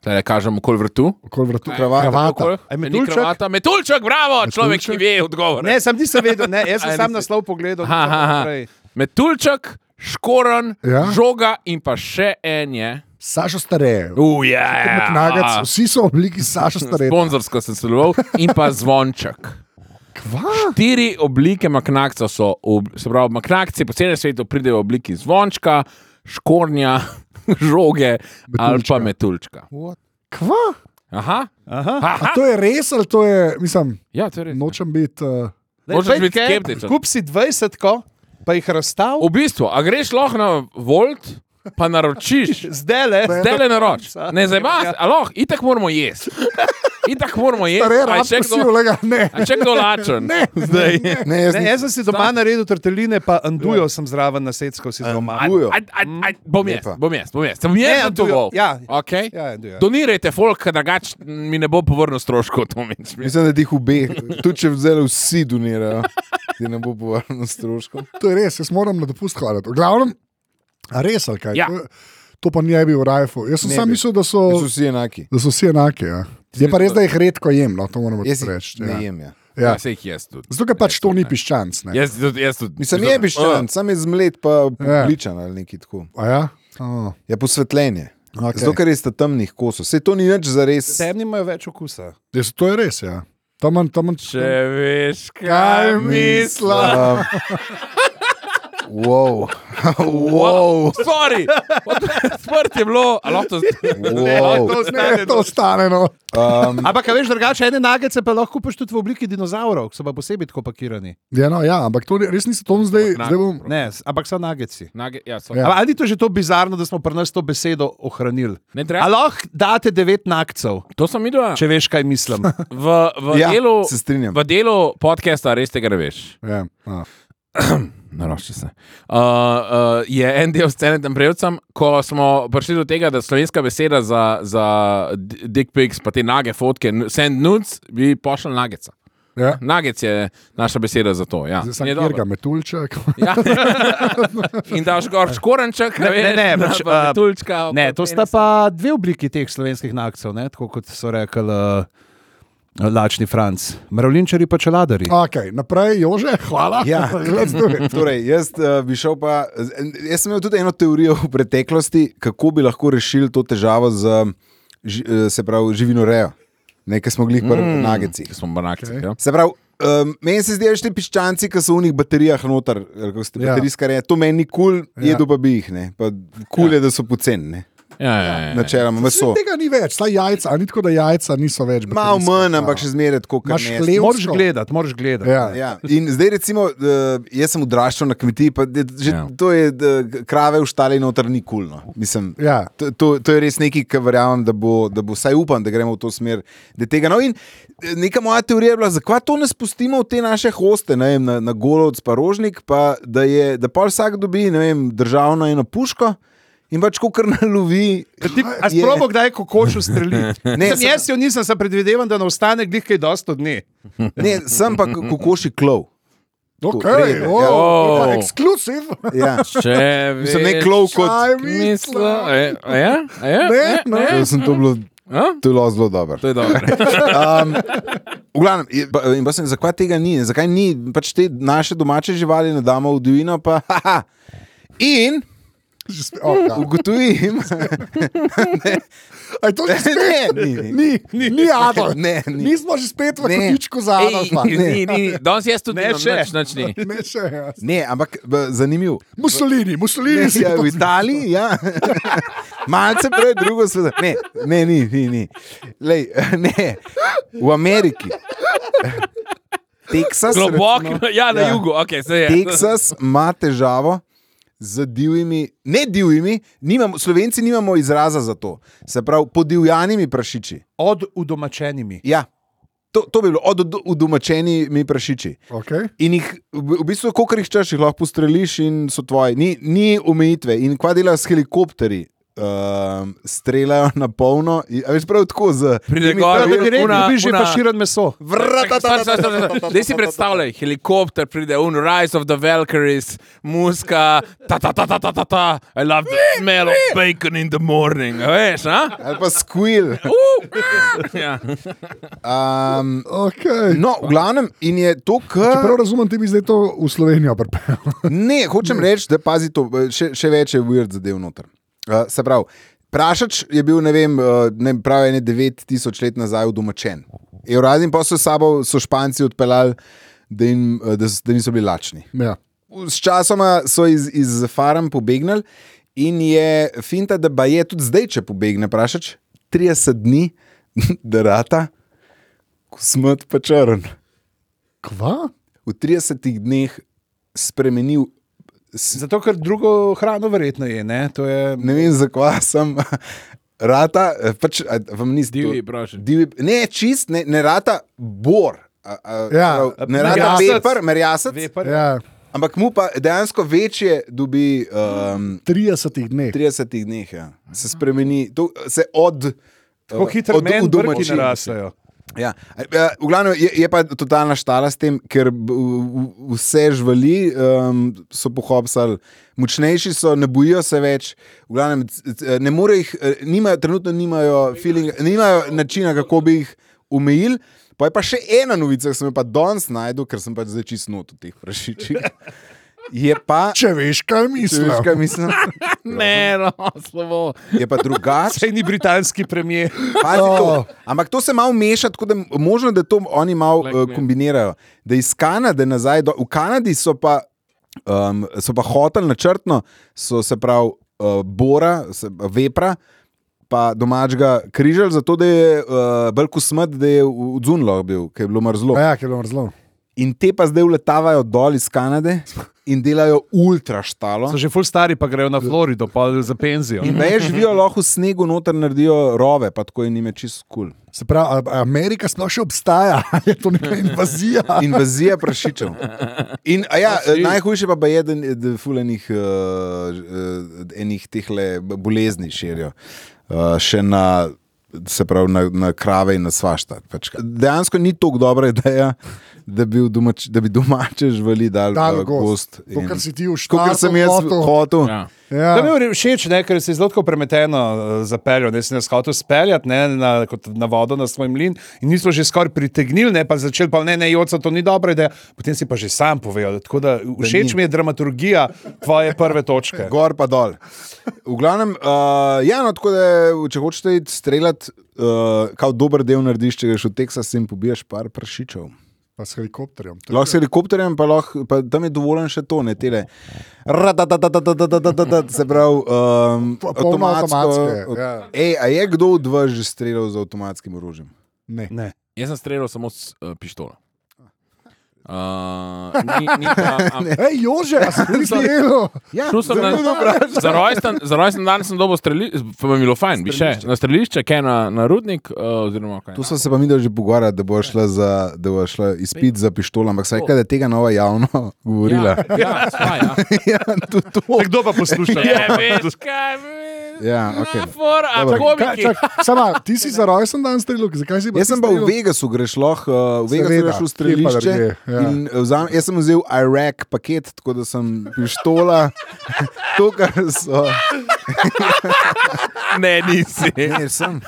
[SPEAKER 3] Tele kažem, okol vrtu.
[SPEAKER 1] Okol vratu
[SPEAKER 2] Kravata.
[SPEAKER 1] kravata.
[SPEAKER 3] Okol-
[SPEAKER 4] A je
[SPEAKER 3] Ni
[SPEAKER 4] metuljček?
[SPEAKER 3] kravata, Metuljček, bravo, človek, ki ve odgovor.
[SPEAKER 4] Ne, sem nisem vedel, ne, jaz
[SPEAKER 3] Aj,
[SPEAKER 4] sem sam
[SPEAKER 3] nisi.
[SPEAKER 4] naslov pogledal.
[SPEAKER 3] Ha, ha, ha.
[SPEAKER 4] prej.
[SPEAKER 3] Metuljček, škoren,
[SPEAKER 1] Ja.
[SPEAKER 3] ja? žoga in pa še en je.
[SPEAKER 1] Sašo stareje.
[SPEAKER 3] Uje,
[SPEAKER 1] Knagac, vsi so v obliki Saša stareje.
[SPEAKER 3] Sponzorsko sem sodeloval in pa zvonček.
[SPEAKER 1] Kva?
[SPEAKER 3] Štiri oblike maknakca so, ob- se pravi, maknakci po celem svetu pridejo v obliki zvončka, škornja, žoge ali pa metuljčka.
[SPEAKER 1] Kva?
[SPEAKER 3] Aha,
[SPEAKER 4] Aha.
[SPEAKER 3] Aha.
[SPEAKER 1] To je res ali to je, mislim,
[SPEAKER 3] Ja, to je res.
[SPEAKER 1] nočem biti. Uh,
[SPEAKER 4] Daj,
[SPEAKER 3] Moraš
[SPEAKER 4] pojdite,
[SPEAKER 3] biti skeptičen.
[SPEAKER 4] Kup si 20, ko, pa jih razstav,
[SPEAKER 3] V bistvu, a greš lahko na Volt, pa naročiš,
[SPEAKER 4] zdaj le.
[SPEAKER 3] zdaj le naroč. Ne
[SPEAKER 1] Ja.
[SPEAKER 3] zabavaš, aloh, itak moramo jesti. Itak moramo jesti.
[SPEAKER 1] Stare,
[SPEAKER 3] a je še
[SPEAKER 1] rabe si,
[SPEAKER 3] kdo-
[SPEAKER 1] kolega, ne.
[SPEAKER 3] a je Še kdo lačen.
[SPEAKER 1] Ne,
[SPEAKER 3] zdaj.
[SPEAKER 2] Ne, jaz
[SPEAKER 4] Ne,
[SPEAKER 3] ja.
[SPEAKER 2] ne.
[SPEAKER 4] jaz sem si doma naredil torteline, pa andujo sem zraven na secko si doma.
[SPEAKER 2] Andujo.
[SPEAKER 3] Aj, aj, aj, bom jaz,
[SPEAKER 2] Lepa.
[SPEAKER 3] bom jaz, bom jaz. Sem jaz
[SPEAKER 4] Ne,
[SPEAKER 3] na to
[SPEAKER 4] Antujo,
[SPEAKER 3] vol.
[SPEAKER 4] ja.
[SPEAKER 3] Okay.
[SPEAKER 4] Ja, Andujo.
[SPEAKER 3] Donirajte, folk, drugače mi ne bo povrnil stroškov, to meni.
[SPEAKER 2] Mislim, da ti jih obe, tudi če vzeli vsi donirajo, ti ne bo povrnil stroškov.
[SPEAKER 1] To je res, jaz moram na dopust hvaliti. V glavnem, a res ali kaj.
[SPEAKER 3] Ja.
[SPEAKER 1] To, to pa ni bil rajfo. Jaz sem
[SPEAKER 2] Ne
[SPEAKER 1] sam
[SPEAKER 2] bi.
[SPEAKER 1] mislil, da so,
[SPEAKER 2] Ker So vsi enaki.
[SPEAKER 1] da so vsi enaki. Ja. Je pa res, da jih redko jem, no, to moramo
[SPEAKER 2] Jaz
[SPEAKER 1] reči.
[SPEAKER 2] jih ne
[SPEAKER 1] Ja.
[SPEAKER 2] jem. Ja.
[SPEAKER 1] Ja.
[SPEAKER 3] Ja, se jih jaz tudi.
[SPEAKER 1] Zato, ker pač to ni piščanc. Ne.
[SPEAKER 3] Jaz tudi, jaz tudi.
[SPEAKER 2] Mislim, je biščan, sam je zmlet, pa
[SPEAKER 1] Ja.
[SPEAKER 2] pličan ali nekaj tako.
[SPEAKER 1] A Ja? Oh.
[SPEAKER 2] Ja, posvetljenje.
[SPEAKER 1] Okej.
[SPEAKER 2] Zato, ker je sta temnih kosov. Vse to ni več za res.
[SPEAKER 4] Temni imajo več okusa.
[SPEAKER 1] Jaz, to je res, ja. Tam manj, tam manj.
[SPEAKER 3] Če veš, kaj mislim.
[SPEAKER 2] Wow. wow.
[SPEAKER 3] Sorry, sprt je bilo, ali lahko to zdaj.
[SPEAKER 2] wow.
[SPEAKER 1] Ne, to ostane. No.
[SPEAKER 2] Um,
[SPEAKER 4] Ampak, a veš, drugače, ene nagice pa lahko kupiš tudi v obliki dinozaurov, ki so pa posebej tako pakirani.
[SPEAKER 1] Ja, no, ja, ampak to ni- res nisem tam zdaj.
[SPEAKER 3] Ampak
[SPEAKER 1] zdaj bom,
[SPEAKER 4] Ne, s- ampak so nagici.
[SPEAKER 3] Nage, ja, so.
[SPEAKER 1] Ja.
[SPEAKER 4] Ja. Ali ni to že to bizarno, da smo pri nas to besedo ohranili?
[SPEAKER 3] Ne,
[SPEAKER 4] Ja.
[SPEAKER 3] treba,
[SPEAKER 4] Aloh, date devet nagcev,
[SPEAKER 3] to sem videl.
[SPEAKER 4] če veš, kaj mislim.
[SPEAKER 3] V, v,
[SPEAKER 2] ja,
[SPEAKER 3] ja, delu,
[SPEAKER 2] se strinjam.
[SPEAKER 3] v delu podcasta res tega ne veš.
[SPEAKER 1] ja, a.
[SPEAKER 3] Naroči se. Uh, uh, je en del scene tam prejcem, ko smo prišli do tega, da slovenska beseda za, za di- dick pics, pa te nage fotke, n- send nudes, bi pošel nageca.
[SPEAKER 1] ja.
[SPEAKER 3] Nagec je naša beseda za to. Ja.
[SPEAKER 1] Zdaj sem
[SPEAKER 3] In je dobro.
[SPEAKER 1] Jirga, metuljček.
[SPEAKER 3] Ja. In daš gor škorenček, ne, ne,
[SPEAKER 4] Ne, ne,
[SPEAKER 3] ne,
[SPEAKER 4] pač,
[SPEAKER 3] pač,
[SPEAKER 4] a,
[SPEAKER 3] uh, tulčka.
[SPEAKER 4] Ne, to sta pa dve obliki teh slovenskih nagcev, ne, tako kot so rekli uh, lačni Franc. Mravljinčari pa čeladari.
[SPEAKER 1] Okay, naprej, Jože, hvala.
[SPEAKER 2] Ja,
[SPEAKER 1] Let's do it.
[SPEAKER 2] torej, jaz uh, bi šel pa. Jaz sem imel tudi eno teorijo v preteklosti, kako bi lahko rešili to težavo z um, ži, eh, se pravi, živinorejo. Nekaj smo glih pri mm. nagecih.
[SPEAKER 3] Smo banakci.
[SPEAKER 1] Okej.
[SPEAKER 3] Okay. Ja.
[SPEAKER 2] Se pravi, um, meni se zdijo še ti piščanci, ki so v njih baterijah noter, ali kako ste
[SPEAKER 1] Ja.
[SPEAKER 2] baterijska reja. To meni ni kul, cool,
[SPEAKER 1] Ja.
[SPEAKER 2] jedo pa bi jih, ne. Pa kul cool je, da so poceni, ne.
[SPEAKER 3] Ja, ja,
[SPEAKER 2] E.
[SPEAKER 3] ja, ja.
[SPEAKER 2] Načeloma, meso.
[SPEAKER 1] Saj Tega ni več, saj jajca, a ni tako, da jajca niso več.
[SPEAKER 2] Malo
[SPEAKER 1] baterijska.
[SPEAKER 2] manj, ampak še zmeraj tako, kot
[SPEAKER 1] Imaš
[SPEAKER 2] ne.
[SPEAKER 1] hleb?
[SPEAKER 4] Moraš gledati, moraš gledati.
[SPEAKER 1] Ja.
[SPEAKER 2] Ja. In zdaj, recimo, eh, jaz sem odraščal na kmetiji, pa je že ja.
[SPEAKER 3] Ja.
[SPEAKER 2] to je, da krave v štali noter ni kulno. Mislim,
[SPEAKER 1] Ja.
[SPEAKER 2] to, to, to je res nekaj, kar verjamem, da bo, da bo vsaj upam, da gremo v to smer. da Tega, no, in eh, neka moja teorija je bila, zakaj to ne spustimo v te naše hoste, ne vem, na, na golovc, pa rožnik, pa da, je, da pa vsak dobi ne vem, državno eno puško in pač ko kar nalovi.
[SPEAKER 4] Ti, a
[SPEAKER 2] je-
[SPEAKER 4] sprobo kdaj, ko hočeš streliti?
[SPEAKER 2] Ne,
[SPEAKER 4] Sem
[SPEAKER 2] sem-
[SPEAKER 4] jaz jo nisem, sem predvideval, da ne ostane glih kaj dosto dni.
[SPEAKER 2] Ne, sem pa kokoši klov.
[SPEAKER 1] Okay,
[SPEAKER 2] Redno,
[SPEAKER 1] oh,
[SPEAKER 2] ja.
[SPEAKER 1] oh.
[SPEAKER 3] Oh.
[SPEAKER 1] Ekskluziv.
[SPEAKER 2] Ja.
[SPEAKER 3] Če veš,
[SPEAKER 2] Mislim, ne klov kot.
[SPEAKER 1] Kaj
[SPEAKER 3] Mislim, e, a ja, a ja,
[SPEAKER 1] Ne,
[SPEAKER 3] ne,
[SPEAKER 1] ne.
[SPEAKER 2] no.
[SPEAKER 3] ne.
[SPEAKER 2] Jaz sem to bilo
[SPEAKER 3] A?
[SPEAKER 2] To je bilo zelo dobro.
[SPEAKER 3] To je dobro.
[SPEAKER 2] Um, v glavnem, je- pa- in pa sem, zakaj tega ni, zakaj ni, pač te naše domače živali ne damo v divino, pa haha. In
[SPEAKER 1] Že spe- o, ja.
[SPEAKER 2] ugotovim,
[SPEAKER 1] A je to že spet?
[SPEAKER 2] Ne, ni, ni.
[SPEAKER 1] ni, ni, ni Adolf.
[SPEAKER 2] Ne, ni.
[SPEAKER 1] Nismo že spet v
[SPEAKER 2] Ne.
[SPEAKER 1] kotičku za Adolfa.
[SPEAKER 3] Ej, ni, ni, ni. Danes jaz tudi
[SPEAKER 4] Ne
[SPEAKER 3] ne
[SPEAKER 4] še.
[SPEAKER 3] šem.
[SPEAKER 1] Ne, še, ja.
[SPEAKER 2] ne, ampak b- zanimiv.
[SPEAKER 1] Mussolini, Mussolini
[SPEAKER 2] Ne,
[SPEAKER 1] si
[SPEAKER 2] ja,
[SPEAKER 1] to
[SPEAKER 2] v Italiji, ja. malce prej drugo svet. Ne, ne, ni, ni. ni. Lej, ne. V Ameriki. Teksas,
[SPEAKER 3] Globok,
[SPEAKER 2] recimo,
[SPEAKER 3] ja, na
[SPEAKER 2] Ja.
[SPEAKER 3] ja. jugu, okay, se je.
[SPEAKER 2] Teksas ima težavo z divjimi, ne divjimi, nimamo, slovenci nimamo izraza za to. Se pravi, podivjanimi prašiči.
[SPEAKER 4] Od udomačenimi.
[SPEAKER 2] Ja, to, to bi bilo od od- udomačenimi prašiči.
[SPEAKER 1] Okay.
[SPEAKER 2] In jih, v v bistvu, koliko jih češ, jih lahko streliš, in so tvoji. Ni, ni omejitve. In kva delajo s helikopteri, um, streljajo na polno. in- a Veš prav tako z.
[SPEAKER 3] Pride
[SPEAKER 2] temi-
[SPEAKER 3] gor,
[SPEAKER 2] prav, da bi
[SPEAKER 3] vidi-
[SPEAKER 2] rekel,
[SPEAKER 3] Una-
[SPEAKER 4] Rekel bi že
[SPEAKER 3] una-
[SPEAKER 4] paširan meso.
[SPEAKER 3] Zdaj si predstavljaj, helikopter pride, un Rise of the Valkyries, muska, ta ta ta ta ta ta ta, I love the smell of bacon in the morning, a veš, a?
[SPEAKER 2] Ali pa squil.
[SPEAKER 3] Uh, ja.
[SPEAKER 2] Um,
[SPEAKER 1] Okay.
[SPEAKER 2] no, v glavnem, in je to,
[SPEAKER 1] Če
[SPEAKER 2] kar.
[SPEAKER 1] prav razumem, ti bi zdaj to v Slovenijo pripeljal.
[SPEAKER 2] Ne, hočem reči, da pazi to, eh, še, še več je weird zadev noter. Uh, se pravi, prašač je bil, ne vem, uh, ne pravi, ne 9000 let nazaj udomačen. Eurazijim pa so s sabo so Španci odpeljali, da, jim, eh, da, s- da niso bili lačni.
[SPEAKER 1] Ja.
[SPEAKER 2] Sčasoma so iz, iz farm pobegnili in je finta, da pa je tudi zdaj, če pobegne, prašač 30 dni, da rata, ko smrt pa črn
[SPEAKER 1] Kva?
[SPEAKER 2] v 30 dneh spremenil. s-
[SPEAKER 4] Zato, ker drugo hrano verjetno je. Ne? To je
[SPEAKER 2] Ne vem, zakaj sem. Rata, eh, pač, a, vam ni zdelo.
[SPEAKER 3] Divji prašen.
[SPEAKER 2] Divji, ne, čist, ne, ne rata bor. A, a,
[SPEAKER 1] Ja,
[SPEAKER 2] prav, ne rata
[SPEAKER 4] merjasec.
[SPEAKER 2] pepper, merjasec,
[SPEAKER 4] vepr.
[SPEAKER 1] Ja,
[SPEAKER 2] ampak mu pa dejansko večje dobi um,
[SPEAKER 1] 30 dni.
[SPEAKER 2] v 30 dneh. Ja. Se spremeni, to, se od. eh,
[SPEAKER 4] Tako hitro
[SPEAKER 2] od
[SPEAKER 4] meni brki
[SPEAKER 2] udomači.
[SPEAKER 4] narasajo.
[SPEAKER 2] Ja. A, a, V glavnem je, je pa totalna štala s tem, ker b- v- v- vse živali um, so pohopsali, močnejši so, ne bojijo se več. V glavnem, c- c- ne morejo jih, eh, nimajo, trenutno nimajo, feeling, nimajo načina, kako bi jih umejili. Pa je pa še ena novica, ki sem jo pa danes najdel, ker sem pač zdaj čist not v teh prašičih. Je pa,
[SPEAKER 1] Če veš, kaj
[SPEAKER 2] če veš,
[SPEAKER 1] mislim.
[SPEAKER 2] kaj mislim,
[SPEAKER 3] Ne, no, slovo.
[SPEAKER 2] je pa drugače.
[SPEAKER 4] Sej ni britanski premijer.
[SPEAKER 2] Pazi
[SPEAKER 1] Oh.
[SPEAKER 2] to. Ampak to se malo meša, tako da možno, da to oni malo
[SPEAKER 3] Black
[SPEAKER 2] uh,
[SPEAKER 3] mirror.
[SPEAKER 2] kombinirajo. Da iz Kanade nazaj, do, v Kanadi so pa, um, so pa hotel načrtno, so se pravi uh, bora, se, vepra. Pa domačega križal, zato da je uh, Brku smrt, da je odzunlo bil, ker je bilo mrzlo.
[SPEAKER 1] Ja, ki je bilo zelo.
[SPEAKER 2] In te pa zdaj uletavajo dol iz Kanade in delajo ultra štalo.
[SPEAKER 4] So že ful stari, pa grejo na Florido, pa za penzijo.
[SPEAKER 2] In več živijo lahko v snegu, noter naredijo rove, pa tako in jim je čisto kul. Cool.
[SPEAKER 1] Se pravi, a- a Amerika sploh še obstaja, ali je to neka invazija.
[SPEAKER 2] Invazija prašičev. In, a ja, eh, najhujše pa, pa je, da, da fulanih eh, enih tehle bolezni širijo. Eh, Še na, se pravi, na, na krave in na svašta. Pač. Dejansko ni tako dobra ideja, da bi, v domač, da bi domače živali dal
[SPEAKER 1] Dal
[SPEAKER 2] eh,
[SPEAKER 1] gost.
[SPEAKER 2] gost.
[SPEAKER 1] To,
[SPEAKER 2] in-
[SPEAKER 1] kar si ti v
[SPEAKER 2] Tako, kar
[SPEAKER 1] štartu
[SPEAKER 2] sem jaz
[SPEAKER 1] hotel.
[SPEAKER 2] hotel.
[SPEAKER 3] Ja.
[SPEAKER 4] To
[SPEAKER 1] Ja.
[SPEAKER 4] mi je bilo všeč, ne, ker se je zelo tako premeteno eh, zapeljal, da si nas hotel speljati ne, na, kot na vodo na svoj mlin in nismo že skoraj pritegnili, ne, pa začeli pa ne, ne, joca, to ni dobro, da potem si pa že sam povedal. Tako da všeč mi je dramaturgija tvoje prve točke.
[SPEAKER 2] Gor pa dol. V glavnem, uh, ja, no, tako da, je, če hočeš iti streljati, uh, kot dober del narediš, če greš v Teksas in pobiješ par prašičev.
[SPEAKER 1] Pa s helikopterjem. To-
[SPEAKER 2] Lahko s helikopterjem, pa, lahko, pa tam je dovoljen še to, ne tele. Ratatatatatatatatatatata, Se pravi, um,
[SPEAKER 1] Pa- polno avtomatske, ja.
[SPEAKER 2] Ja. Ej, a je kdo od vas že streljal z avtomatskim orožjem?
[SPEAKER 1] Ne.
[SPEAKER 4] Ne.
[SPEAKER 3] Jaz sem streljal samo s uh, pištolo. Uh, ni, ni pa, am,
[SPEAKER 1] Ej, Jože, a si ti zelo.
[SPEAKER 2] Ja,
[SPEAKER 3] Šel sem na- Za rojsten, za rojsten dan sem dobil strelišče, pa mi je bilo fajn, bi še na strelišče, kaj na, na rudnik. Uh, oziroma, kaj,
[SPEAKER 2] Tu smo se pa mi dali že pogovarjati, da bo šla, za, da bo šla izpit za pištolo, ampak se rekla, da tega nova javno govorila.
[SPEAKER 3] Ja, ja, sva, ja.
[SPEAKER 2] Ja, tudi to.
[SPEAKER 4] Tak, Kdo pa posluša?
[SPEAKER 3] Je, Ja, veš, kaj mi
[SPEAKER 2] Ja, okej.
[SPEAKER 3] Metafor, a
[SPEAKER 2] Dobro.
[SPEAKER 3] komiki.
[SPEAKER 1] Sama, ti si za rojsten dan strelil, zakaj si pa
[SPEAKER 2] Jaz
[SPEAKER 1] ti
[SPEAKER 2] sem pa v
[SPEAKER 1] strelil?
[SPEAKER 2] Vegasu, greš lahko, uh, v
[SPEAKER 1] Seveda,
[SPEAKER 2] Vegasu greš v
[SPEAKER 1] kje pa
[SPEAKER 2] strelišče.
[SPEAKER 1] drugje, ja.
[SPEAKER 2] in, eh, Vzam, jaz sem vzel Irak paket, tako da sem pištola, to, kar so
[SPEAKER 3] Ne, nisi.
[SPEAKER 2] Ne, sem.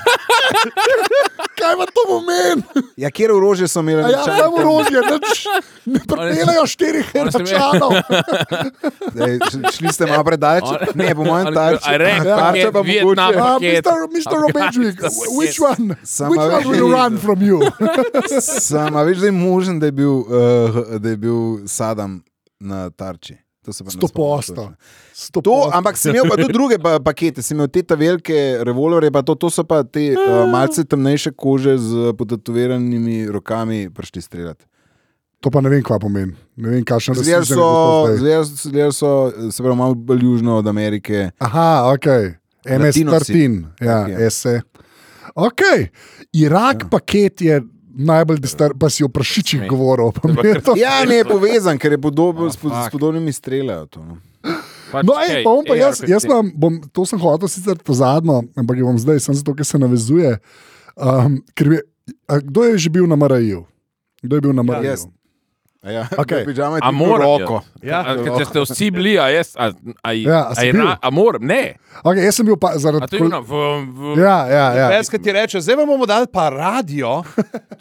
[SPEAKER 1] Kaj ima to pomen?
[SPEAKER 2] Ja, kjer orožje so imeli?
[SPEAKER 1] A Ja,
[SPEAKER 2] Američani
[SPEAKER 1] tam
[SPEAKER 2] tam?
[SPEAKER 1] orožje, nič, ne pripeljejo štirih
[SPEAKER 3] Oni so imeli-
[SPEAKER 1] heračanov.
[SPEAKER 2] Ej, š- Šli ste malo predaleč. Ne, po mojem
[SPEAKER 3] Oni-
[SPEAKER 2] tarču.
[SPEAKER 3] a rek,
[SPEAKER 2] Tarča
[SPEAKER 3] paket,
[SPEAKER 2] pa
[SPEAKER 3] Vietnam.
[SPEAKER 2] mogoče.
[SPEAKER 1] Uh,
[SPEAKER 3] Paket.
[SPEAKER 1] Mr. Mr. Robedžvik,
[SPEAKER 3] Afganistan,
[SPEAKER 1] which
[SPEAKER 3] yes.
[SPEAKER 1] one?
[SPEAKER 2] Sama
[SPEAKER 1] Which one
[SPEAKER 2] več
[SPEAKER 1] will
[SPEAKER 2] ni
[SPEAKER 1] run from you?
[SPEAKER 2] Sam, a veš, da je možen, da je bil, uh, da je bil Sadam na tarči. To se pa ne
[SPEAKER 1] Sto
[SPEAKER 2] spomnim
[SPEAKER 1] posto.
[SPEAKER 2] točno.
[SPEAKER 1] Sto
[SPEAKER 2] To,
[SPEAKER 1] posto.
[SPEAKER 2] ampak sem imel pa tudi druge pa, pakete, sem imel te ta velike revolverje, pa to, to so pa te
[SPEAKER 1] Eh.
[SPEAKER 2] uh, malce temnejše kože z potatoviranimi rokami prišli streljati.
[SPEAKER 1] To pa ne vem, kaj pomeni. Ne vem, kakšne
[SPEAKER 2] Zgledali
[SPEAKER 1] razmišljanje bo
[SPEAKER 2] so,
[SPEAKER 1] to zdaj.
[SPEAKER 2] zgledali so- zgledali so, se pravi, malo bolj južno od Amerike.
[SPEAKER 1] Aha, ok. MS-13, ja,
[SPEAKER 2] Okej.
[SPEAKER 1] okay. SE. Ok, Irak ja. paket je najbolj distrben, pa si o prašičih govoril. pa mi je to-
[SPEAKER 2] Ja, ne je povezan, ker je podoben, oh,
[SPEAKER 3] fuck.
[SPEAKER 2] s podobnimi streljajo. To, no.
[SPEAKER 3] Pač,
[SPEAKER 1] No, ej,
[SPEAKER 3] ej,
[SPEAKER 1] pa bom pa jaz,
[SPEAKER 3] AR-15.
[SPEAKER 1] jaz vam bom, to sem hotel sicer to zadnjo, ampak jo bom zdaj, sem zato, ker se navezuje. Um, ker je, a, kdo je že bil na MRI-ju? Kdo je bil na MRI-ju?
[SPEAKER 2] jaz. A Ja,
[SPEAKER 1] Okej.
[SPEAKER 2] Pižama je
[SPEAKER 3] A
[SPEAKER 2] tudi
[SPEAKER 3] moram.
[SPEAKER 2] roko.
[SPEAKER 4] Ja.
[SPEAKER 3] Ja, ker če ste vsi bili, a jaz, a, a,
[SPEAKER 1] Ja, a
[SPEAKER 3] a,
[SPEAKER 1] si
[SPEAKER 3] a,
[SPEAKER 1] bil?
[SPEAKER 3] a, a moram, ne.
[SPEAKER 1] Okay, jaz sem bil pa zaradi
[SPEAKER 3] A to je
[SPEAKER 1] kol-
[SPEAKER 3] ono, v, v,
[SPEAKER 1] Ja, ja, ja.
[SPEAKER 4] Pes, ki ti reče, zdaj vam bomo dali pa radio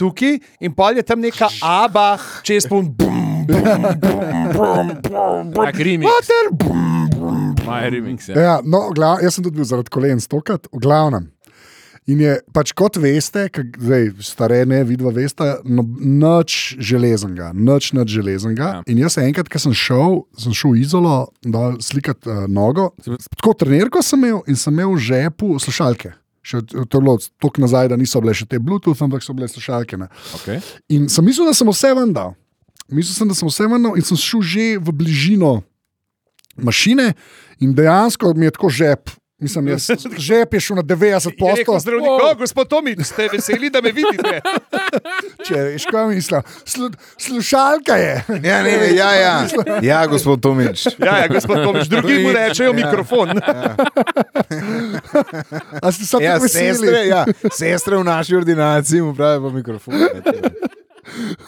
[SPEAKER 4] tukaj in pol je tam neka aba, če je spun. Bum, bum, bum, bum, bum.
[SPEAKER 3] Tak remix.
[SPEAKER 4] Pater, bum, bum.
[SPEAKER 3] Maj remix, ja.
[SPEAKER 1] Ja, no, v glav, jaz sem tudi bil zaradi kolen stokrat, v glavnem. In je pač kot veste, kak, zdaj stare ne, vidva veste, no, nič železnega, nič, nič železnega. Ja. In jaz enkrat, ko sem šel, sem šel v izolo, da slikat uh, nogo. Tako trenerko sem imel in sem imel v žepu slušalke. Še, to je bilo tako nazaj, da niso bile še te Bluetooth, ampak so bile slušalke. Ne.
[SPEAKER 3] Okay.
[SPEAKER 1] In sem mislil, da sem vse ven dal. Mislil sem, da sem vse ven dal in sem šel že v bližino mašine, in dejansko mi je tako žep. Mislim, jaz, žep je šel na 90
[SPEAKER 4] Je rekel
[SPEAKER 1] posto.
[SPEAKER 4] zdravnik, oh, gospod Tomič, ste veseli, da me vidite.
[SPEAKER 1] Če veš, kaj mislim. Slu, slušalka je.
[SPEAKER 2] Ja, ne, ne, ja, ja. ja, gospod Tomič.
[SPEAKER 4] Ja, ja gospod Tomič, drugi mu rečejo mikrofon.
[SPEAKER 1] A si sam
[SPEAKER 2] Ja,
[SPEAKER 1] tako
[SPEAKER 2] sestre,
[SPEAKER 1] vesel?
[SPEAKER 2] ja, sestre v naši ordinaciji mu pravijo po mikrofonu.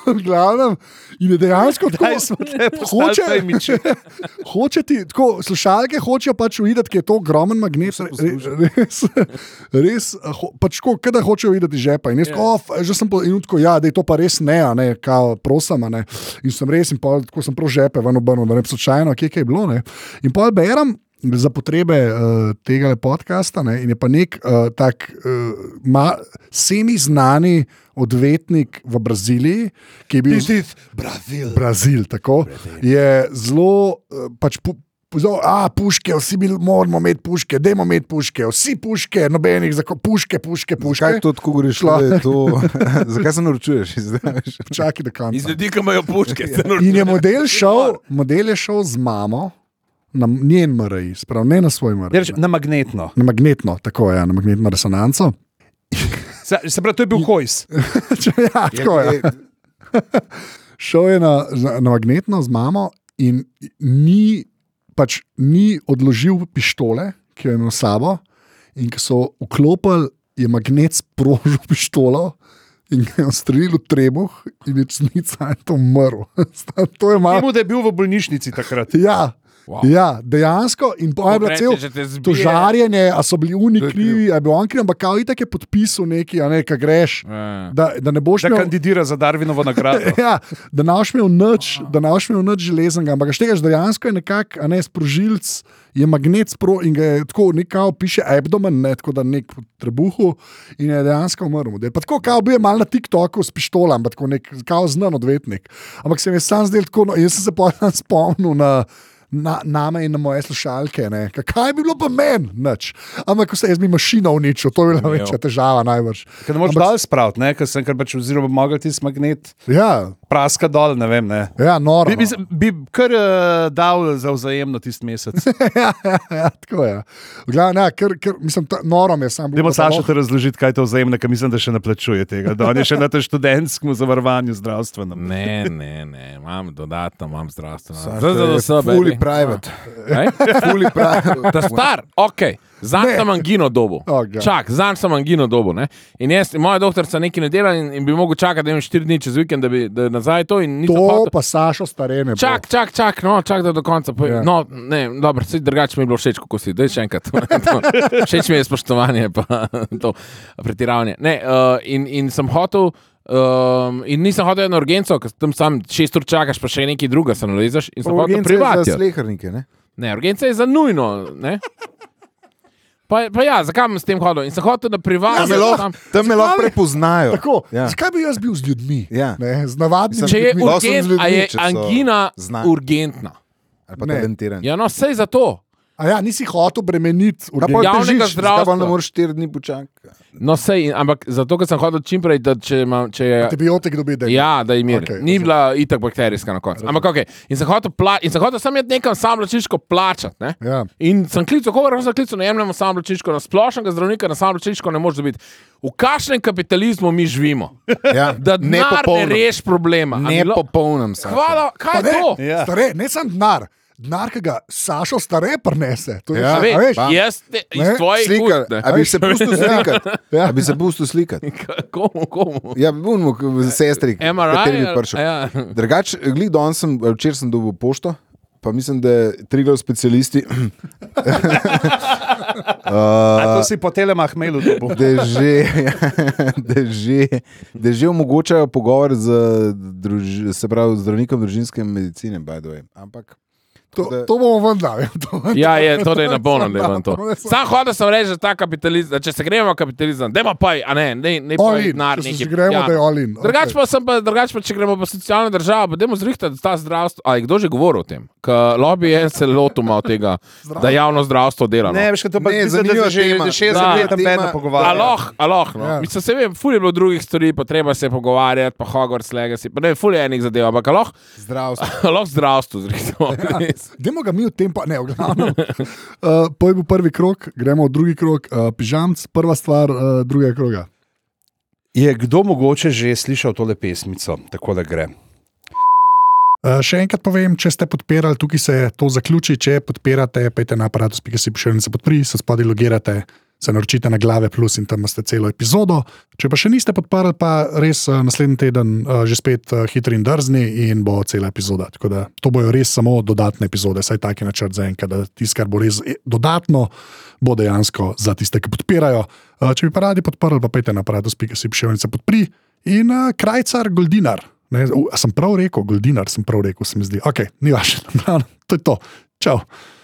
[SPEAKER 1] V glavnem. In je dejansko tako.
[SPEAKER 4] Kaj smo tle
[SPEAKER 1] Hoče-
[SPEAKER 4] postali tajmiči?
[SPEAKER 1] Hoče ti, tako, slušalke hočejo pač videti, ker je to ogromen magnet. Re, res, res ho, pač ko, da hočejo videti iz žepa. In jaz, yeah. of, že sem pomenil, ja, da je to pa res ne, a ne kao, prosim. a Ne. In sem res, in pol, tako sem prav žepe, ven obrnil, da ne bi slučajno, kje, kje je bilo. Ne. In pol berem. Za potrebe uh, tega podcasta, ne, in je pa nek uh, tak uh, ma, semi-znani odvetnik v Braziliji, ki je bil.
[SPEAKER 4] Brazil.
[SPEAKER 1] Brazil, tako, je zelo eh, pač. Pu, pu- zelo, A, puške, vsi bil, moramo imeti puške, dajmo imeti puške, vsi puške, nobenih, zako, puške, puške, puške.
[SPEAKER 2] Kaj to tako greš?
[SPEAKER 1] Šla.
[SPEAKER 2] Zakaj se naročuješ? izdaješ?
[SPEAKER 1] Čakaj, da
[SPEAKER 3] Iz
[SPEAKER 1] končam.
[SPEAKER 3] ljudi, ki imajo puške, se nor-
[SPEAKER 1] In je model šel, model je šel z mamo na njen MRI, spravo ne na svoj MRI.
[SPEAKER 4] Reč, Ja, na magnetno.
[SPEAKER 1] Na magnetno, tako je, ja, na magnetno resonanco.
[SPEAKER 4] Se, se pravi, to je bil hojs.
[SPEAKER 1] ja, tako je. šel je na, na, na magnetno z mamo in ni, pač, ni odložil pištole, ki jo je imel s sabo. In ko so vklopili, je magnet sprožil pištolo. In ga je ustrelil v trebuh, in je črnica in to umrl. to je malo.
[SPEAKER 4] Vemo, da je bil v bolnišnici takrat.
[SPEAKER 1] Ja,
[SPEAKER 3] Wow.
[SPEAKER 1] wow. ja, dejansko. In pa je bilo
[SPEAKER 3] Konkretno,
[SPEAKER 1] cel
[SPEAKER 3] če te zbije.
[SPEAKER 1] to žarjenje, a so bili
[SPEAKER 2] To je
[SPEAKER 1] oni
[SPEAKER 2] kriv.
[SPEAKER 1] krivi, a je bil on kriv, ampak kao itak je podpisal neki, a ne, kaj greš.
[SPEAKER 3] Ja.
[SPEAKER 1] Da, da ne boš
[SPEAKER 4] Da
[SPEAKER 2] No.
[SPEAKER 1] imel
[SPEAKER 4] kandidira za Darvinovo nagrado.
[SPEAKER 1] Ja, da ne boš imel nič, da ne boš imel nič železnega, ampak štegaš dejansko je nekako, a ne sprožilc, je magnet spro in ga je tako nekako piše abdomen, ne, tako da nek v trebuhu in je dejansko umrl. Da je pa tako, kao bil je mal na TikToku s pištolom, pa tako nek, kao znan odvetnik. Ampak se mi je sam zdel tako, no, jaz sem se potem spomnil na. Na, name in na moje slušalke, ne. Ka- kaj bi bilo pa meni, nič. Ampak vse jaz bi mašino uničil, to bi bila večja težava, najbrž.
[SPEAKER 4] Ker ne moreš dal spraviti, ne? ker sem kar pač oziroma mogel tisti magnet
[SPEAKER 1] Ja,
[SPEAKER 4] praska dol, ne vem. Ne?
[SPEAKER 1] ja noro.
[SPEAKER 4] Bi, bi, se- bi kar uh, dal za vzajemno tisti mesec.
[SPEAKER 1] ja, ja, ja, tako je. Glavno, ja, ker, ker, mislim, ta, noro mi je sam.
[SPEAKER 4] Dajmo Saša te razložiti, kaj je to vzajemno, ker mislim, da še ne plačuje tega. Da on je še na tem študentskem zavarovanju zdravstvenem.
[SPEAKER 3] Ne, ne, ne, imam dodatno, imam
[SPEAKER 1] Eh,
[SPEAKER 3] zdravstveno.
[SPEAKER 2] Fully private.
[SPEAKER 3] Ej?
[SPEAKER 2] Fully private.
[SPEAKER 3] Ta star, ok. Zanj
[SPEAKER 1] Ne.
[SPEAKER 3] sem angino dobo.
[SPEAKER 1] Oh, God.
[SPEAKER 3] Čak, zanj sem angino dobo. Ne? In jaz, in moja doktorica nekaj ne dela in, in bi mogel čakati, da imam 4 dni čez vikend, da bi da nazaj to in nisem
[SPEAKER 1] To
[SPEAKER 3] hotel.
[SPEAKER 1] pa Sašo starene.
[SPEAKER 2] Ja.
[SPEAKER 3] Čak, čak, čak, no, čak da do konca.
[SPEAKER 1] Ja.
[SPEAKER 3] Ja. No, ne, dobro, saj drugače mi je bilo všeč, kako si, da je še enkrat. To, všeč mi je spoštovanje, pa to pretiravanje. Ne, uh, in, in sem hotel. Um, in nisem hodil na urgenco, ker tam sam šest ur čakaš, pa še nekaj druga se nalezeš. In sem hodil privatno.
[SPEAKER 2] slehrnike. Ne?
[SPEAKER 3] Ne, urgenca je za nujno. ne. Pa, pa ja, zakaj sem s tem hodil? In sem hodil
[SPEAKER 2] Tam Ja,
[SPEAKER 3] na
[SPEAKER 2] me
[SPEAKER 3] privatno.
[SPEAKER 2] lahko- Tam me lahko
[SPEAKER 1] Zdravi.
[SPEAKER 2] prepoznajo.
[SPEAKER 1] Tako, ja.
[SPEAKER 2] Ja.
[SPEAKER 1] Zakaj bi jaz bil z ljudmi?
[SPEAKER 2] Ja.
[SPEAKER 1] Ne, z navadnimi
[SPEAKER 3] Če je
[SPEAKER 1] ljudmi.
[SPEAKER 2] Lahko sem z
[SPEAKER 3] urgent, a
[SPEAKER 2] ljudmi,
[SPEAKER 3] je
[SPEAKER 2] če so
[SPEAKER 3] angina
[SPEAKER 2] znan.
[SPEAKER 3] urgentna.
[SPEAKER 2] Ali pa
[SPEAKER 1] Ne.
[SPEAKER 2] talentirani.
[SPEAKER 3] Ja, no, vse je zato.
[SPEAKER 1] A ja, nisi hotel bremeniti
[SPEAKER 2] Pa pol
[SPEAKER 3] Javnega
[SPEAKER 2] težiš, zdaj pa
[SPEAKER 3] zdravstva.
[SPEAKER 2] ne moreš 4 dni počakati.
[SPEAKER 3] No, sej, in- ampak zato, ker sem hodil čim prej, da če, imam, če je.
[SPEAKER 1] antibiotik, dobi da
[SPEAKER 3] Ja, da je mir.
[SPEAKER 1] Okej,
[SPEAKER 3] Okay, Ni bila itak bakterijska na koncu. Ampak ok, in sem hotel, pla in sem hotel sam jeti nekam sam ločiško plačati. Ne?
[SPEAKER 1] Ja.
[SPEAKER 3] In sem klical, kogar sem klical, ne jemljemo sam ločiško, na splošnega zdravnika na sam ločiško ne moreš dobiti. V kakšnem kapitalizmu mi živimo?
[SPEAKER 2] Ja.
[SPEAKER 3] Da ne
[SPEAKER 2] popolnem.
[SPEAKER 3] rešiš problema. A bi
[SPEAKER 2] Ne
[SPEAKER 3] bilo-
[SPEAKER 2] popolnem. Saša.
[SPEAKER 3] Hvala, kaj je
[SPEAKER 1] Ne,
[SPEAKER 3] to?
[SPEAKER 4] Ja.
[SPEAKER 1] Stare, ne samo denar, denar, ki ga Sašo stare prenese. To je
[SPEAKER 2] Ja.
[SPEAKER 1] še-
[SPEAKER 3] A
[SPEAKER 1] a
[SPEAKER 3] veš,
[SPEAKER 1] veš,
[SPEAKER 2] pa-
[SPEAKER 3] Jaz te iz
[SPEAKER 1] Ne,
[SPEAKER 3] tvojih
[SPEAKER 2] Slikar,
[SPEAKER 3] ust, ne.
[SPEAKER 2] a bi se pustil slikati?
[SPEAKER 1] Ja.
[SPEAKER 2] A bi se pustil slikati?
[SPEAKER 3] Komu, komu?
[SPEAKER 2] Ja, bi bil mu sestri,
[SPEAKER 3] MRI
[SPEAKER 2] kateri bi
[SPEAKER 3] ali-
[SPEAKER 2] prišel.
[SPEAKER 3] ja.
[SPEAKER 2] Drugač, glej, danes sem, ali včeraj sem dobil pošto, pa mislim, da tri glavni specialisti,
[SPEAKER 4] A to si po telemah mailu dobil.
[SPEAKER 2] da že, da že, da že omogočajo pogovor z, druž, se pravi, zdravnikom družinske medicine, by the way. Ampak
[SPEAKER 1] to, to bomo vendar.
[SPEAKER 3] Ja, je, to da je napolno, da je vam
[SPEAKER 1] Samo
[SPEAKER 3] to.
[SPEAKER 1] napolno,
[SPEAKER 3] Sam hodil sem reči, da ta kapitalizem, da če se gremo v kapitalizem, dajmo pa, a ne, ne, ne pa
[SPEAKER 1] Olin,
[SPEAKER 3] denar
[SPEAKER 1] če se
[SPEAKER 3] neki.
[SPEAKER 1] že
[SPEAKER 3] Ja.
[SPEAKER 1] gremo, da je olin.
[SPEAKER 3] Drugač
[SPEAKER 1] okej.
[SPEAKER 3] pa sem pa, drugač pa, če gremo pa socialno državo, pa dajmo zrihtati ta zdravstvo. Ali kdo že govori o tem? Ker lobby je se lotumal tega, da javno zdravstvo dela. No.
[SPEAKER 4] Ne, veš, kaj to pa
[SPEAKER 2] Ne,
[SPEAKER 4] je
[SPEAKER 2] zanimiva tema.
[SPEAKER 4] zanimivo, že 60
[SPEAKER 3] Da.
[SPEAKER 4] let tam
[SPEAKER 2] Tema-
[SPEAKER 4] vedno pogovarjamo.
[SPEAKER 3] Aloh, aloh. No.
[SPEAKER 1] Ja.
[SPEAKER 3] Ja. Mislim, se vem, ful je bilo drugih stvari, pa treba se je pogovarjati, pa Hogwarts Legacy, pa ne, ful je enih zadev, ampak aloh,
[SPEAKER 2] zdravstvo.
[SPEAKER 3] aloh zdravstvo zrihtamo. Ja.
[SPEAKER 1] Demo ga mi v tem, pa ne, v glavnem. Uh, to je bil prvi krok, gremo v drugi krok, uh, pižamc, prva stvar uh, drugega kroga.
[SPEAKER 4] Je kdo mogoče že slišal tole pesmico, tako da gre?
[SPEAKER 1] Uh, še enkrat povem, če ste podpirali, tukaj se to zaključi. Če podpirate, pejte na aparatus, ki si pošiljnice podprite, se spodaj logirate, se naročite na glave, plus in tam imate celo epizodo. Če pa še niste podprli, pa res uh, naslednji teden uh, že spet uh, hitri in drzni in bo cela epizoda. Tako da to bojo res samo dodatne epizode, saj tak je načrt za enkrat, da tisto, kar bo res e- dodatno, bo dejansko za tiste, ki podpirajo. Uh, če bi pa radi podprli, pa pejte na aparatus, ki si pošiljnice podprite in uh, krajcar Goldinar. Ne, u, a sem prav rekel, Goldinar sem prav rekel, se mi zdi. Ok, ni vaš, to je to. Čau.